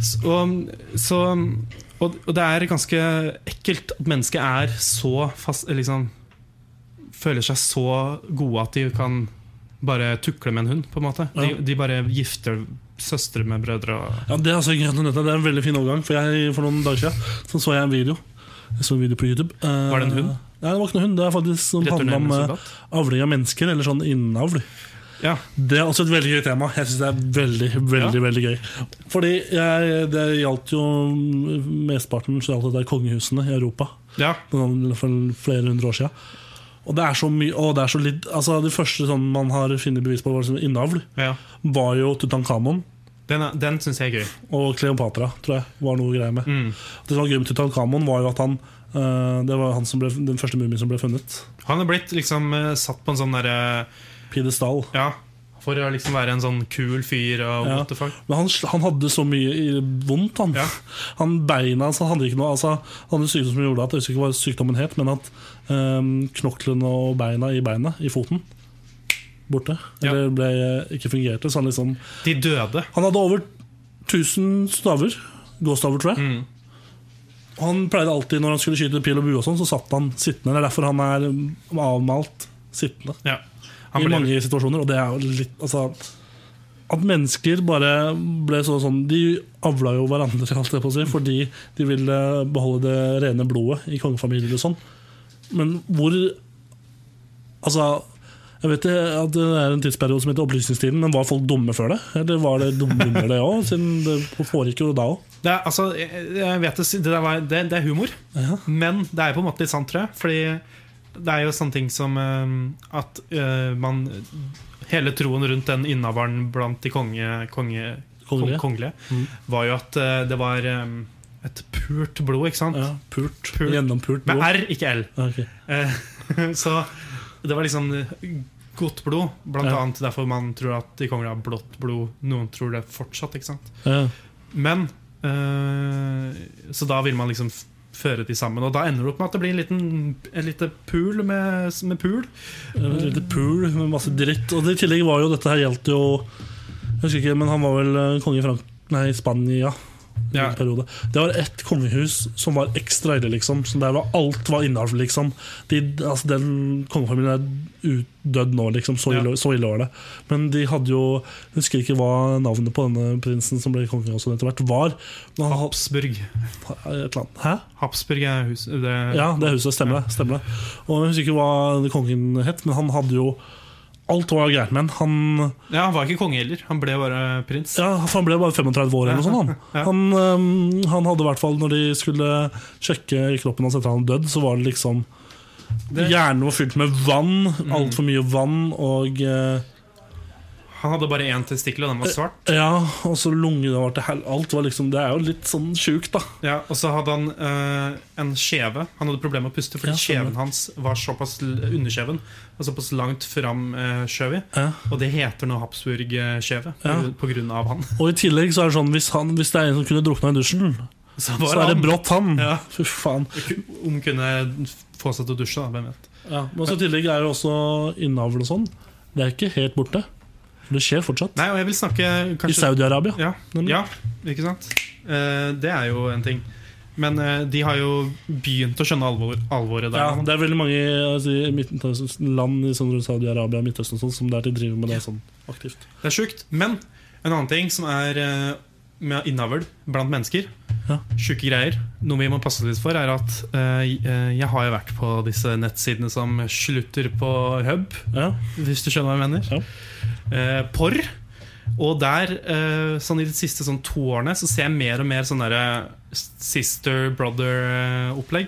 Speaker 3: så, så, og, og det er ganske ekkelt at mennesket er så fast liksom, Føler seg så gode at de kan bare tukle med en hund, på en måte. De,
Speaker 2: Ja.
Speaker 3: de bare gifter søstre med brødre og
Speaker 2: Ja, det er altså greit å nøtte. Det er en veldig fin overgang. For, jeg, for noen dager siden så, så jeg en video. Jeg så en video på YouTube. Eh,
Speaker 3: Var det en hund?
Speaker 2: Nei, det var ikke noen hund. Det er faktisk som handler
Speaker 3: returnerende
Speaker 2: om eh,
Speaker 3: soldat.
Speaker 2: avling av mennesker, eller sånn innavl.
Speaker 3: Ja.
Speaker 2: Det er også et veldig gøy tema. Jeg synes det er veldig, veldig, veldig gøy. Fordi jeg, det gjaldt jo mm, mesteparten så gjaldt det der kongehusene i Europa
Speaker 3: ja.
Speaker 2: sånn for flere hundre år siden. Og det er så mye og det, er så litt, altså det første sånn man har funnet bevis på var sånn innavl,
Speaker 3: ja.
Speaker 2: var jo Tutankhamon
Speaker 3: Den, er- den syns jeg er gøy.
Speaker 2: og Kleopatra, tror jeg var noe greier med.
Speaker 3: Mm.
Speaker 2: Det som var gøy med Tutankhamon, var jo at han eh, Det var han som ble, den første mumien som ble funnet.
Speaker 3: Han er blitt liksom eh, satt på en sånn derre
Speaker 2: Pidestal.
Speaker 3: Ja, for å liksom være en sånn kul fyr og
Speaker 2: Ja.
Speaker 3: what the fuck.
Speaker 2: Men han, sl- han hadde så mye i- vondt, han.
Speaker 3: Ja.
Speaker 2: Han Beina hans han hadde ikke noe altså, Han hadde en sykdom som gjorde at jeg husker ikke hva sykdommen het, men at um, knoklene og beina i beina, i foten, borte.
Speaker 3: Ja.
Speaker 2: Eller ble, ikke fungerte. Så han liksom
Speaker 3: De døde.
Speaker 2: Han hadde over 1000 staver. Gåstaver, tror jeg.
Speaker 3: Mm.
Speaker 2: Og Han pleide alltid når han skulle skyte pil og bue, og sånn, så satt han sittende. Det er derfor han er um, avmalt sittende
Speaker 3: Ja.
Speaker 2: i
Speaker 3: Han ble,
Speaker 2: mange situasjoner. Og det er jo litt Altså At mennesker bare ble så, sånn De avla jo hverandre, holdt jeg på å si, fordi de ville beholde det rene blodet i kongefamilier og sånn. Men hvor Altså jeg vet det, at det er en tidsperiode som heter opplysningstiden, men var folk dumme før det? Eller var det dumme under det òg, siden det foregikk jo da òg?
Speaker 3: det er, altså, jeg, jeg vet det, det, der var, det, det er humor,
Speaker 2: Ja.
Speaker 3: men det er på en måte litt sant, tror jeg. Fordi det er jo sånne ting som eh, at eh, man Hele troen rundt den innehaveren blant de konge, konge, kongelige,
Speaker 2: Kongelige.
Speaker 3: kongelige
Speaker 2: Mm.
Speaker 3: var jo at eh, det var eh, et purt blod, ikke sant?
Speaker 2: Ja, pult.
Speaker 3: Pult.
Speaker 2: Gjennompult
Speaker 3: Med
Speaker 2: blod.
Speaker 3: R, ikke L.
Speaker 2: Ja, ok.
Speaker 3: Eh, Så det var liksom godt blod, blant
Speaker 2: Ja.
Speaker 3: annet derfor man tror at de kongelige har blått blod. Noen tror det fortsatt, ikke sant.
Speaker 2: Ja.
Speaker 3: Men eh, Så da vil man liksom f- føre de sammen, og da ender det opp med at det blir en liten En liten pool med, med pool.
Speaker 2: Et lite pool med masse dritt. Og i tillegg var jo dette her gjaldt jo Jeg husker ikke, men han var vel eh, konge i Frank... Nei, Spania. i
Speaker 3: Ja.
Speaker 2: en periode. Det var ett kongehus som var ekstra ille, liksom. Så der var alt var innavl, liksom. De, altså, den kongefamilien er utdødd nå, liksom. Så
Speaker 3: Ja.
Speaker 2: ille, så ille var det. Men de hadde jo Jeg husker ikke hva navnet på denne prinsen som ble konge også etter hvert, var. Men han hadde
Speaker 3: Habsburg.
Speaker 2: et eller annet Hæ?
Speaker 3: Habsburg er hus... Det,
Speaker 2: Ja, det huset. Stemmer det. Stemmer det. Og Jeg husker ikke hva kongen het, men han hadde jo Alt var gærent med han. han.
Speaker 3: Ja, Han var ikke konge heller, han ble bare prins.
Speaker 2: Ja, for han ble bare 35 år eller noe sånt.
Speaker 3: Ja.
Speaker 2: Han, han, øhm, han hadde i hvert fall, når de skulle sjekke kroppen hans etter han død, så var det liksom
Speaker 3: Det- Mm.
Speaker 2: Hjernen var fylt med vann, altfor mye vann, og eh,
Speaker 3: Han hadde bare én testikkel, og den var svart.
Speaker 2: Ja, og så lungene var til hel... Alt var liksom Det er jo litt sånn sjukt, da.
Speaker 3: Ja, Og så hadde han eh, en kjeve. Han hadde problemer med å puste fordi
Speaker 2: Ja, stemmer.
Speaker 3: kjeven hans var såpass l- underkjeven var såpass langt fram eh, skjøv i.
Speaker 2: Ja.
Speaker 3: Og det heter nå Habsburg-kjeve
Speaker 2: Ja.
Speaker 3: på grunn av han.
Speaker 2: Og i tillegg så er det sånn hvis, han, hvis det er en som kunne drukna i dusjen,
Speaker 3: Så,
Speaker 2: så er det brått han.
Speaker 3: Ja.
Speaker 2: Fy faen.
Speaker 3: Om hun kunne få seg til å dusje, da. Hvem vet.
Speaker 2: Ja, men også I tillegg er jo også innavl og sånn. Det er ikke helt borte. Det skjer fortsatt.
Speaker 3: Nei, og jeg vil snakke
Speaker 2: I
Speaker 3: kanskje
Speaker 2: Saudi-Arabia.
Speaker 3: ja, ja, ikke sant? Eh, det er jo en ting. Men eh, de har jo begynt å skjønne alvor, alvoret der.
Speaker 2: Ja,
Speaker 3: nå.
Speaker 2: det er veldig mange altså, i Midtøsten- land i sånn rundt Saudi-Arabia og Midtøsten og sånn, som der de driver med det sånn aktivt.
Speaker 3: Det er sjukt. Men en annen ting som er eh, med innavl blant mennesker
Speaker 2: Ja.
Speaker 3: Sjuke greier. Noe vi må passe litt for, er at eh, eh, jeg har jo vært på disse nettsidene som slutter på hub,
Speaker 2: Ja,
Speaker 3: hvis du skjønner hva jeg mener.
Speaker 2: Ja.
Speaker 3: Eh, porr. Og der, eh, sånn i de siste sånn to årene, så ser jeg mer og mer sånn derre sister-brother-opplegg.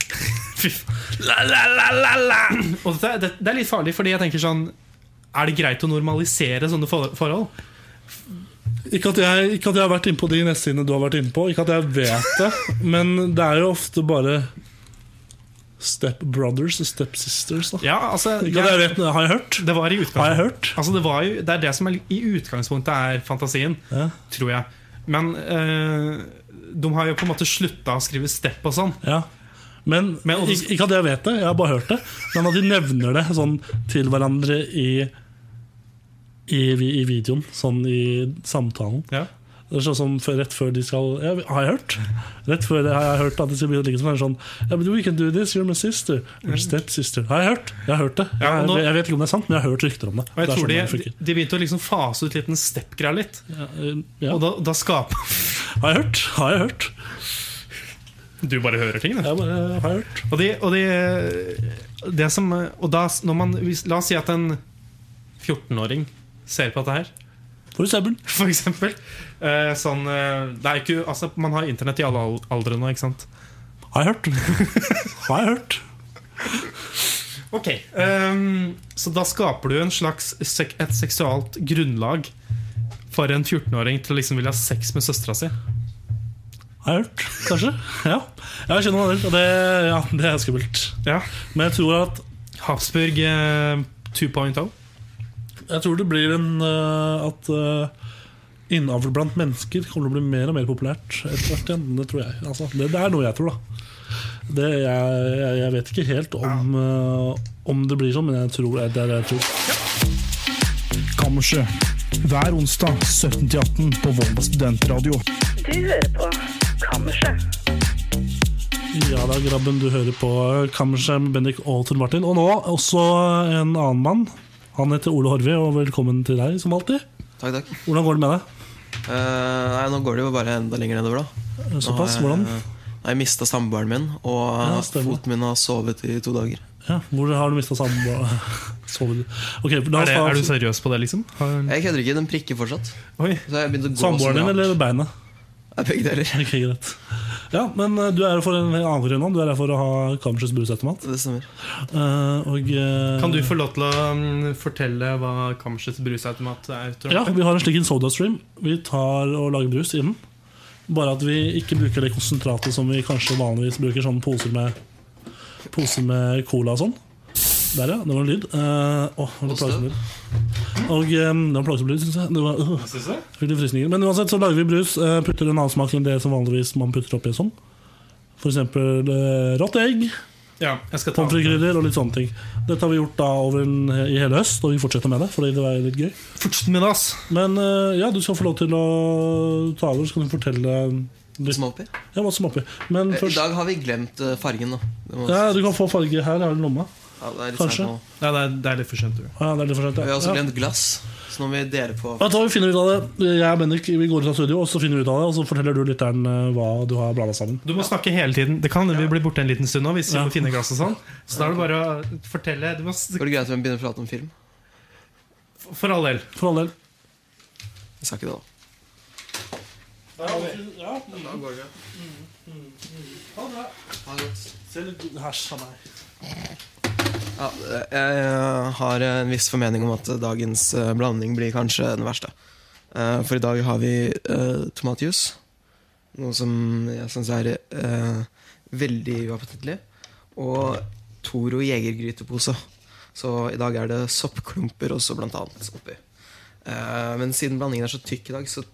Speaker 3: Fy faen. La, la, la, la, la. Og det, det, det er litt farlig, fordi jeg tenker sånn Er det greit å normalisere sånne for- forhold?
Speaker 2: ikke at, jeg, ikke at jeg har vært inne på de nettsidene du har vært inne på, ikke at jeg vet det, men det er jo ofte bare stepbrothers og stepsisters. Da.
Speaker 3: Ja, altså
Speaker 2: Ikke at jeg vet, men Har jeg hørt?
Speaker 3: Det var i
Speaker 2: Har jeg
Speaker 3: utgangspunktet
Speaker 2: hørt?
Speaker 3: altså, det, var jo, det er det som er, i utgangspunktet er fantasien,
Speaker 2: Ja.
Speaker 3: tror jeg. Men eh, de har jo på en måte slutta å skrive step og sånn.
Speaker 2: Ja. Men,
Speaker 3: Men også-
Speaker 2: ikke, ikke at jeg vet det, jeg har bare hørt det. Men at de nevner det sånn til hverandre i, i, i videoen, sånn i samtalen.
Speaker 3: Ja.
Speaker 2: Det er sånn som før- Rett før de skal ja, Har jeg hørt? Rett før det har jeg hørt at de skal begynne å ligge sammen. er det Sånn, yeah, but we can do this, you're my sister. Or stepsister. Har jeg hørt? Jeg har hørt det. Jeg,
Speaker 3: Ja, og nå-
Speaker 2: jeg, vet ikke om det er sant, men jeg har hørt rykter om det.
Speaker 3: Og
Speaker 2: Det er
Speaker 3: jeg tror de,
Speaker 2: sånn det funker.
Speaker 3: de begynte å liksom fase ut litt den step-greia litt.
Speaker 2: Ja, eh, ja.
Speaker 3: Og da, da skaper
Speaker 2: Har jeg hørt? Har jeg hørt?
Speaker 3: Du bare hører ting,
Speaker 2: Jeg bare, eh, har jeg hørt?
Speaker 3: Og, de, og, de, det som, og da, når man, hvis- la oss si at en 14-åring ser på dette her,
Speaker 2: For eksempel.
Speaker 3: for eksempel. Eh, sånn, eh, det er ikke, altså, man har internett i alle al- aldre nå, ikke sant?
Speaker 2: Har jeg hørt? Har jeg hørt?
Speaker 3: Ok. ehm, så da skaper du en slags sek et seksualt grunnlag for en 14-åring til å liksom ville ha sex med søstera si.
Speaker 2: Har jeg hørt, kanskje? Ja, jeg kjenner noen del, og det, ja, det er skummelt.
Speaker 3: Ja.
Speaker 2: Men jeg tror, at,
Speaker 3: Habsburg eh, 2.0.
Speaker 2: jeg tror det blir en eh, At uh, innavl blant mennesker kommer til å bli mer og mer populært etter hvert igjen. Det tror jeg. Altså, det, det er noe jeg tror, da. Det, jeg, jeg, jeg vet ikke helt om, eh, om det blir sånn, men jeg tror det er det jeg tror.
Speaker 1: Kammerset. Hver onsdag 17-18 på Volda studentradio.
Speaker 4: Du hører på Kammerset.
Speaker 2: Ja da, Grabben, du hører på Kammerset med Bendik og Tor Martin. Og nå også en annen mann. Han heter Ole Horve, og velkommen til deg, som alltid.
Speaker 5: Takk, takk.
Speaker 2: Hvordan går det med deg?
Speaker 5: Eh, nei, nå går det jo bare enda lenger nedover, da. Nå har
Speaker 2: Såpass,
Speaker 5: jeg-
Speaker 2: hvordan?
Speaker 5: Nei, Jeg mista samboeren min, og
Speaker 2: Ja, stemmer.
Speaker 5: foten min har sovet i to dager.
Speaker 2: Ja, hvor har du mista samboeren? Sover du? Ok, la
Speaker 3: Er,
Speaker 2: oss
Speaker 3: det- er du
Speaker 2: ta
Speaker 3: seriøs på det, liksom? Har-
Speaker 5: Jeg kødder ikke, den prikker fortsatt.
Speaker 3: Oi.
Speaker 5: Så jeg begynte å gå
Speaker 2: samboeren din eller beinet?
Speaker 5: Jeg begge deler.
Speaker 2: Ok, greit. Ja, men eh, du er her for en annen grunn nå. Du er her for å ha Kammersets brusautomat.
Speaker 5: Det stemmer.
Speaker 2: Eh, og eh,
Speaker 3: Kan du få lov til å mm, fortelle hva Kammersets brusautomat er? Tor?
Speaker 2: Ja, vi har en slik en sodastream. Vi tar og lager brus i den. Bare at vi ikke bruker det konsentratet som vi kanskje vanligvis bruker sånn poser med Poser med cola og sånn. Der, ja. Det var en lyd. Eh, åh, det var en plagsom lyd. Og eh, det var en plagsom lyd, syns jeg. Det var, øh.
Speaker 3: Synes du det?
Speaker 2: Fikk litt frysninger. Men uansett så lager vi brus. eh, Putter en annen smak enn det som vanligvis man putter oppi sånn. For eksempel eh, rått egg.
Speaker 3: Ja, jeg skal ta
Speaker 2: Pommes frites-krydder og litt sånne ting. Dette har vi gjort da over en, i hele høst, og vi fortsetter med det. Fordi det var litt gøy
Speaker 3: Fortsett med det, ass.
Speaker 2: Men eh, ja, du skal få lov til å ta over, så kan du fortelle litt
Speaker 5: Som er oppi.
Speaker 2: ja, hva som er oppi. Men
Speaker 5: Eh, I
Speaker 2: først
Speaker 5: dag har vi glemt eh, fargen, da. Det må,
Speaker 2: ja, Du kan få farge her. Her i lomma.
Speaker 5: ja, det er litt
Speaker 2: kanskje.
Speaker 5: sent nå.
Speaker 3: Nei, det er, det er litt for sent. du.
Speaker 2: Ja, det er litt for sent,
Speaker 5: Vi har også
Speaker 2: ja. Ja.
Speaker 5: glemt glass, så nå må vi dele på
Speaker 2: Vet du hva, vi finner ut av det. Jeg og Bendik vi går ut av studio, og så finner vi ut av det, og så forteller du lytteren eh, hva du har blanda sammen.
Speaker 3: Du må snakke hele tiden. Det kan vi blir borte en liten stund nå hvis vi
Speaker 2: Ja.
Speaker 3: må finne glass og sånn. Så da er det bare å fortelle. Du må, s-
Speaker 5: Går det greit om vi begynner å prate om film?
Speaker 3: for all del.
Speaker 2: For all del.
Speaker 5: Jeg skal ikke det, da. Da går det. Ha det godt.
Speaker 2: Hæsj av meg.
Speaker 5: Ja, jeg eh, har en viss formening om at dagens eh, blanding blir kanskje den verste. Eh, For i dag har vi eh, tomatjuice, noe som jeg syns er eh, veldig uappetittlig. Og Toro jegergrytepose. Så i dag er det soppklumper også, blant annet, oppi. Eh, Men siden blandingen er så tykk i dag, så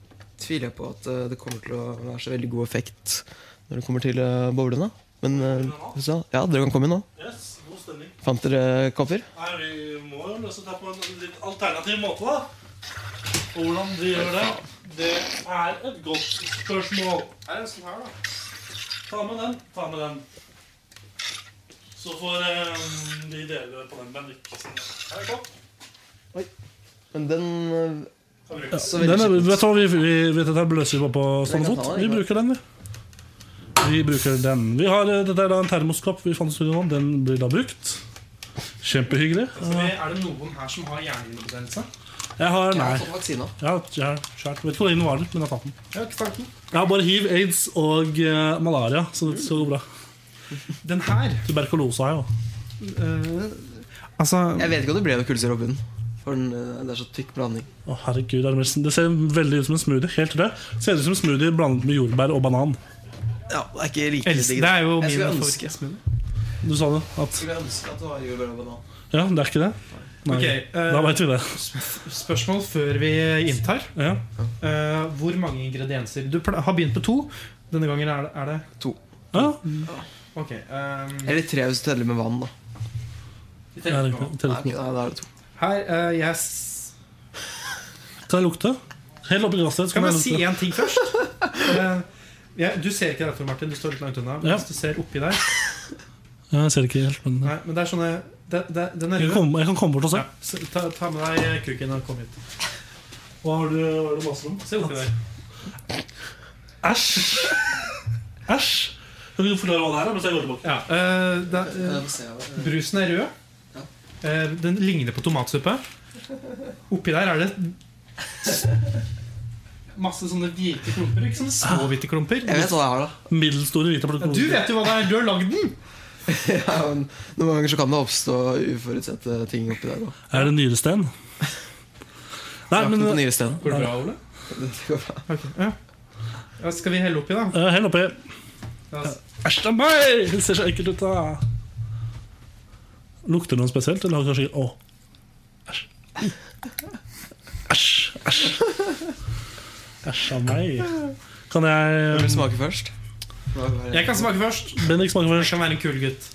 Speaker 5: tviler jeg på at eh, det kommer til å være så veldig god effekt når det kommer til eh, boblene. Men eh, så- ja, dere kan komme inn nå.
Speaker 2: Yes, god stemning.
Speaker 5: Fant dere kopper?
Speaker 2: Nei, Vi må jo løse det på en litt alternativ måte, da. Og hvordan vi gjør det, det er et godt spørsmål. Er det sånn her, da? Ta med den, ta med den. Så får eh, vi dele på den, men ikke sånn. Her er kopp.
Speaker 5: Men den
Speaker 3: Kan
Speaker 5: øh,
Speaker 3: brukes.
Speaker 5: så veldig
Speaker 2: Den er,
Speaker 5: skittent.
Speaker 2: vet du hva, vi, vi vet dette her løser vi bare på stående fot. Vi bruker den, vi. Vi bruker den. Vi har, eh, dette er da en termoskopp vi fant i studio nå. Den blir da brukt. Kjempehyggelig.
Speaker 3: Skal vi- Er det noen her som har hjernehinnebetennelse?
Speaker 2: Jeg har
Speaker 5: Jeg
Speaker 2: Nei.
Speaker 5: har fått vaksina.
Speaker 2: Jeg har, jeg har skjært. Vet ikke hvor lenge den varer, men jeg har tatt den.
Speaker 3: Ja, ikke sant?
Speaker 2: Jeg har bare hiv, aids og eh, malaria, så det skal gå bra.
Speaker 3: Den her
Speaker 2: Tuberkulose har jeg òg.
Speaker 3: eh, Altså
Speaker 5: Jeg vet ikke om det ble noe kulser oppi den. For den, øh, det er så tykk blanding.
Speaker 2: Å, herregud, Armelsen. Det ser veldig ut som en smoothie. Helt rød. Ser ut som en smoothie blandet med jordbær og banan.
Speaker 5: Ja, det er ikke like
Speaker 3: Else,
Speaker 5: digg.
Speaker 3: det er jo
Speaker 5: Jeg skulle
Speaker 3: min
Speaker 5: ønske-
Speaker 3: favorittmiddag.
Speaker 2: Du sa det. At,
Speaker 5: skulle ønske at det var jordbær og banan.
Speaker 2: ja, det er ikke det? Nei.
Speaker 3: Ok, eh,
Speaker 2: Da veit vi det.
Speaker 3: Spørsmål før vi inntar.
Speaker 2: Ja.
Speaker 3: Eh, hvor mange ingredienser? Du pla- har begynt på to. Denne gangen er det, er det
Speaker 2: ja.
Speaker 3: Ok. ehm,
Speaker 5: Eller tre hvis du teller med vann, da.
Speaker 3: vi
Speaker 2: det er
Speaker 3: teller på.
Speaker 2: riktig. Telles
Speaker 5: Nei,
Speaker 2: med.
Speaker 5: nei, da er det to.
Speaker 3: her, eh, jeg s-
Speaker 2: Kan jeg lukte? Helt oppi glasset. så
Speaker 3: Skal jeg
Speaker 2: kan
Speaker 3: bare
Speaker 2: jeg
Speaker 3: si
Speaker 2: lukte.
Speaker 3: én ting først? Eh, jeg- du ser ikke derfor, Martin. Du står litt langt unna. Men
Speaker 2: Ja.
Speaker 3: Hvis du ser oppi der
Speaker 2: Ja, Jeg ser ikke helt, men
Speaker 3: Nei, men det er sånne det, det, Den er
Speaker 2: jeg kan,
Speaker 3: rød.
Speaker 2: komme, jeg kan komme bort og se.
Speaker 3: Ja, så ta, ta med deg eh, kuken og kom hit.
Speaker 2: Hva har du, har du masse om?
Speaker 3: Se oppi der.
Speaker 2: Æsj! Æsj! Kan du forklare hva det er? da, mens jeg går tilbake?
Speaker 3: Ja, eh, det, er-
Speaker 5: Jeg får se, øh,
Speaker 3: Brusen er rød. Eh, Den ligner på tomatsuppe. Oppi der er det masse sånne hvite klumper. Ikke sånne små hvite klumper.
Speaker 5: Jeg vet hva det er, da.
Speaker 2: Middelstore hvite
Speaker 3: Ja, Du vet jo hva det er! Du har lagd den!
Speaker 5: Ja, men noen ganger så kan det oppstå uforutsette ting oppi der. Da.
Speaker 2: Er det nyresten? Nei,
Speaker 5: Jakten
Speaker 2: men
Speaker 5: på nye steder.
Speaker 3: Går det bra, Ole?
Speaker 5: Det går bra.
Speaker 3: Ok, ja. ja, skal vi helle oppi, da?
Speaker 2: eh, Hell oppi.
Speaker 3: Ja, s-
Speaker 2: Æsj da meg! Det ser så ekkelt ut, da. Lukter det noe spesielt, eller har det kanskje Å. Æsj. Æsj. Æsj. Æsj av meg. Kan
Speaker 5: Hvem vil
Speaker 2: jeg
Speaker 5: smake først?
Speaker 3: Jeg kan smake først.
Speaker 2: Bendik smake
Speaker 3: Jeg
Speaker 2: først?
Speaker 3: kan være en kul gutt.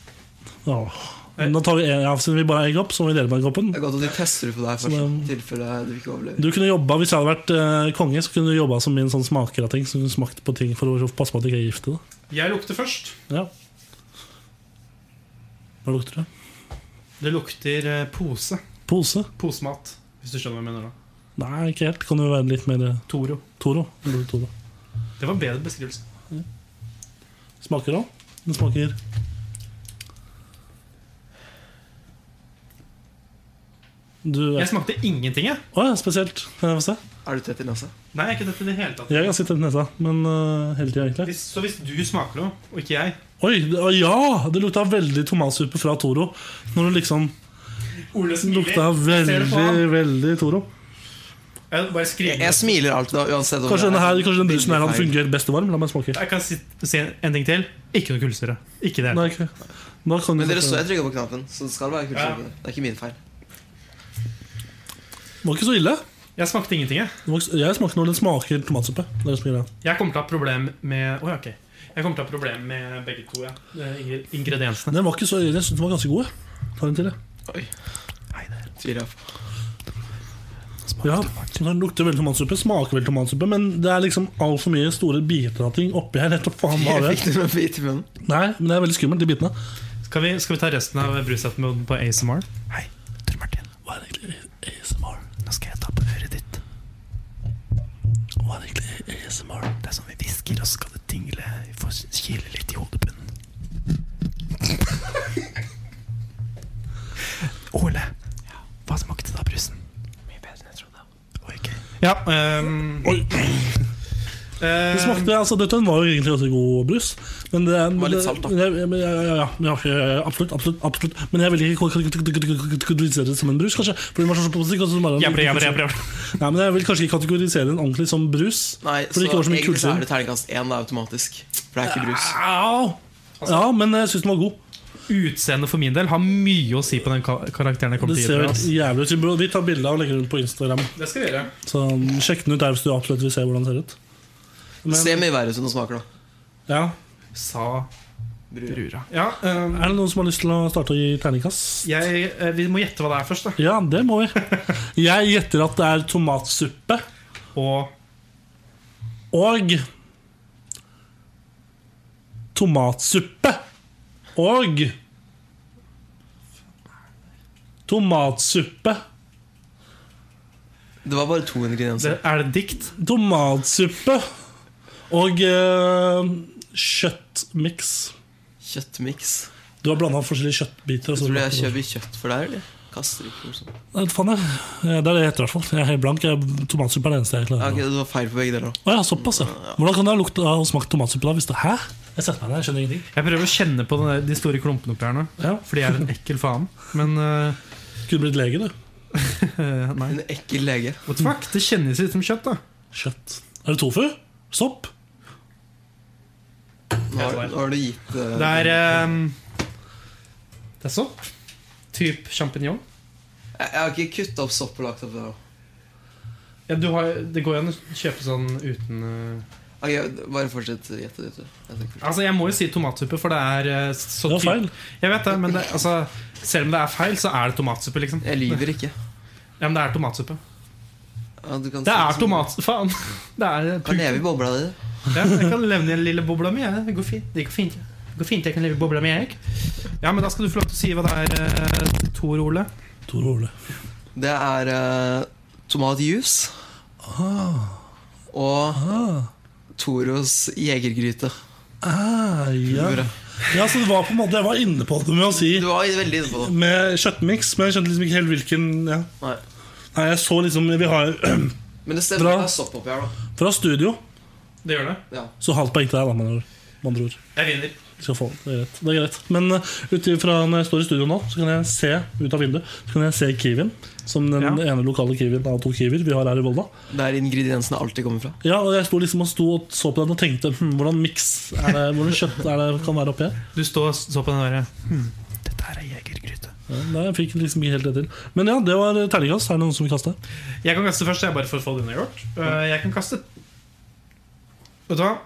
Speaker 2: Åh. Nå tar vi en, ja, Siden vi bare har egg opp, så må vi dele med koppen.
Speaker 5: Det er godt at de tester det på deg først,
Speaker 2: Som,
Speaker 5: i tilfelle du ikke overlever.
Speaker 2: Du kunne jobba, Hvis jeg hadde vært eh, konge, så kunne du jobba som min sånn smaker av ting. Så kunne du smakt på ting for å passe på at jeg ikke er gift i det.
Speaker 3: Jeg lukter først.
Speaker 2: Ja. Hva lukter det?
Speaker 3: Det lukter eh, pose.
Speaker 2: Pose?
Speaker 3: Posemat. Hvis du skjønner hva jeg mener nå.
Speaker 2: Nei, ikke helt. Kan jo være litt mer eh,
Speaker 3: Toro.
Speaker 2: Toro. Det lukter Toro.
Speaker 3: Det var en bedre beskrivelse.
Speaker 2: Smaker da? Den smaker Du
Speaker 3: Jeg smakte ingenting, jeg.
Speaker 2: Å ja, spesielt. Kan jeg få se?
Speaker 5: Er du tett i nesa?
Speaker 3: Nei, ikke dette i det hele tatt.
Speaker 2: Jeg er ganske tett i nesa, men eh, hele tiden egentlig.
Speaker 3: Hvis, så hvis du smaker noe, og ikke jeg
Speaker 2: Oi, det, å, ja! Det lukta veldig tomatsuppe fra Toro. Når det liksom
Speaker 3: Ole
Speaker 2: lukta
Speaker 3: Ser du på
Speaker 2: veldig,
Speaker 3: han?
Speaker 2: veldig Toro.
Speaker 3: Jeg bare skriver
Speaker 5: Jeg, jeg smiler alltid, da, uansett. om
Speaker 2: Kanskje
Speaker 5: det
Speaker 2: denne
Speaker 5: er
Speaker 2: her, kanskje den brusen her
Speaker 5: veldig
Speaker 2: hadde
Speaker 5: feil.
Speaker 2: fungert best varm. La meg smake.
Speaker 3: Jeg kan si, si en ting til. Ikke noe kullsyre. Ikke det.
Speaker 2: Nei, ok. Da kan
Speaker 5: Men
Speaker 2: du
Speaker 5: dere så
Speaker 2: Det
Speaker 5: jeg trykka på knappen, så det skal være kultur. Det er ikke min feil.
Speaker 2: var ikke så ille.
Speaker 3: Jeg smakte ingenting, jeg.
Speaker 2: Det var ikke så- Jeg smaker når den smaker tomatsuppe. Det er det som er greia.
Speaker 3: Jeg kommer til å ha problem med Åja, ok. Jeg kommer til å ha problemer med begge to. Ja. Eh, ingre- Ingrediensene.
Speaker 2: Den var ikke så, jeg synes den var ganske god. jeg. Ta en til, jeg.
Speaker 5: Tviler jeg på.
Speaker 2: Ja, den lukter veldig tomatsuppe, smaker veldig tomatsuppe, men det er liksom altfor mye store biter av ting oppi her. Jeg vet da faen hva det
Speaker 5: Jeg
Speaker 2: er.
Speaker 5: fikk det med bit i munnen.
Speaker 2: Nei, men det er veldig skummelt, de bitene.
Speaker 3: Skal vi, skal vi ta resten av brusetmoden på ASMR?
Speaker 2: Hva er egentlig ASMR?
Speaker 6: Nå skal jeg ta på øret ditt.
Speaker 2: Hva er egentlig ASMR?
Speaker 6: Det er sånn vi hvisker, og så skal det dingle. Vi får kile litt i hodebunnen. Ole, hva smakte da brusen? Mye bedre enn jeg trodde. Ok.
Speaker 3: Ja. ehm,
Speaker 2: Oi.
Speaker 3: ehm,
Speaker 2: Det smakte, altså Dette var jo egentlig ganske god brus. Men det er,
Speaker 5: var litt salt, da.
Speaker 2: men det- men- Ja, ja, ja, ja, ja, ja, absolutt. absolutt, absolutt Men jeg vil ikke kategorisere det som en brus, kanskje. For den var så positiv, og så bare-
Speaker 3: jabra, jabra, jabra.
Speaker 2: Nei, men Jeg vil kanskje ikke kategorisere den ordentlig som brus.
Speaker 5: Nei,
Speaker 2: for
Speaker 5: så
Speaker 2: det ikke var så mye
Speaker 5: egentlig så
Speaker 2: kulsyre.
Speaker 5: er det terningkast én da, automatisk. For det er ikke brus.
Speaker 2: Au! Ja, men jeg syns den var god.
Speaker 3: Utseendet for min del har mye å si på den ka- karakteren jeg kommer
Speaker 2: Det ser
Speaker 3: til å gi dere.
Speaker 2: jo helt
Speaker 3: altså.
Speaker 2: jævlig ut. Vi bør- Vi tar bilde og legger det ut på Instagram.
Speaker 3: Det skal vi gjøre.
Speaker 2: Så Sjekk den ut der hvis du absolutt vil se hvordan den ser ut.
Speaker 5: Det ser mye verre ut enn det smaker, da.
Speaker 2: Ja.
Speaker 3: Sa
Speaker 5: Brura.
Speaker 3: brura. Ja, ehm,
Speaker 2: Er det noen som har lyst til å starte å gi terningkast?
Speaker 3: jeg, eh, vi må gjette hva det er først. da
Speaker 2: Ja, det må vi. Jeg gjetter at det er tomatsuppe
Speaker 3: Og
Speaker 2: og Tomatsuppe og Tomatsuppe
Speaker 5: Det var bare to ingredienser.
Speaker 3: det, Er det dikt?
Speaker 2: Tomatsuppe og uh, kjøttmiks.
Speaker 5: Kjøttmiks.
Speaker 2: Du har blanda forskjellige kjøttbiter. altså og så-
Speaker 5: Tror du jeg kjøper kjøtt for deg, eller? Kaster liksom. ikke noe sånt.
Speaker 2: Nei, faen, jeg. Ja, Det er det jeg heter, i hvert fall. Jeg er helt blank. Jeg- Tomatsuppe er det eneste jeg
Speaker 5: Ja,
Speaker 2: klarer.
Speaker 5: ok, det var feil på begge deler. da.
Speaker 2: Å ja, såpass, ja. Hvordan kan det ha lukta og smakt tomatsuppe da? Hvis det, hæ? Jeg setter meg ned, jeg skjønner ingenting.
Speaker 3: Jeg prøver å kjenne på den der, de store klumpene oppi her nå.
Speaker 2: Ja.
Speaker 3: Fordi jeg er en ekkel faen. Men eh,
Speaker 2: Kunne blitt lege, du.
Speaker 3: eh, nei.
Speaker 5: En ekkel lege.
Speaker 3: What the fuck? Det kjennes litt som kjøtt, da.
Speaker 2: Kjøtt. Er det tofu? Sopp?
Speaker 5: Nå har, nå har du gitt eh,
Speaker 3: Det er ehm, Det er sopp. Typ sjampinjong.
Speaker 5: jeg, jeg har ikke kutta opp sopp og lagt oppi der. da.
Speaker 3: Ja, du har, det går jo an å kjøpe sånn uten eh,
Speaker 5: Ok, bare fortsett å gjette. gjette. Jeg tenker først.
Speaker 3: Altså, Jeg må jo si tomatsuppe, for det er eh, så
Speaker 2: Det var
Speaker 3: typ-
Speaker 2: feil.
Speaker 3: Jeg vet det, men det, altså, selv om det er feil, så er det tomatsuppe, liksom.
Speaker 5: Jeg lyver ikke.
Speaker 3: Ja, men det er tomatsuppe.
Speaker 5: Ja, du kan
Speaker 3: Det
Speaker 5: si
Speaker 3: er
Speaker 5: som-
Speaker 3: tomat... Faen! Det er eh,
Speaker 5: Kan leve i bobla di.
Speaker 3: Ja, jeg kan leve i den lille bobla mi. jeg. Det går fint. Det går fint. Det går fint, Jeg kan leve i bobla mi, jeg. Ja, men da skal du få lov til å si hva det er, eh, Tor Ole.
Speaker 2: Tor Ole.
Speaker 5: Det er eh, tomatjuice. Og Toros jegergryte.
Speaker 2: Ah, ja.
Speaker 5: Brura.
Speaker 2: ja, så det var på en måte Jeg var inne på det med å si
Speaker 5: Du var veldig inne på det.
Speaker 2: med kjøttmiks, men jeg skjønte liksom ikke helt hvilken ja.
Speaker 5: Nei.
Speaker 2: Nei, jeg så liksom Vi har
Speaker 5: Men det
Speaker 2: Bra.
Speaker 5: stemmer det er sopp oppi her, da.
Speaker 2: Fra studio
Speaker 3: Det gjør det.
Speaker 5: Ja.
Speaker 2: så halvt poeng til deg, da, med andre ord. Med andre ord.
Speaker 3: Jeg vinner.
Speaker 2: Du Skal få, det, er greit. det er greit. Men uh, ut ifra når jeg står i studio nå, så kan jeg se ut av vinduet Så kan jeg se Kiwien. Som den
Speaker 3: Ja.
Speaker 2: ene lokale Kiwien av to Kiwier vi har her i Volda.
Speaker 5: Der ingrediensene alltid kommer fra.
Speaker 2: Ja, og jeg sto liksom og sto og så på den og tenkte hm, Hvordan miks er det, hvordan kjøtt er det kan være oppi her?
Speaker 3: Du står og så på den eh, hmm, derre
Speaker 6: Dette her er jegergryte.
Speaker 2: Ja, nei, jeg fikk liksom ikke helt det til Men ja, det var terningkast. Er det noen som vil kaste?
Speaker 3: Jeg kan kaste først, jeg bare for å få det unnagjort. Eh, Jeg kan kaste Vet du hva?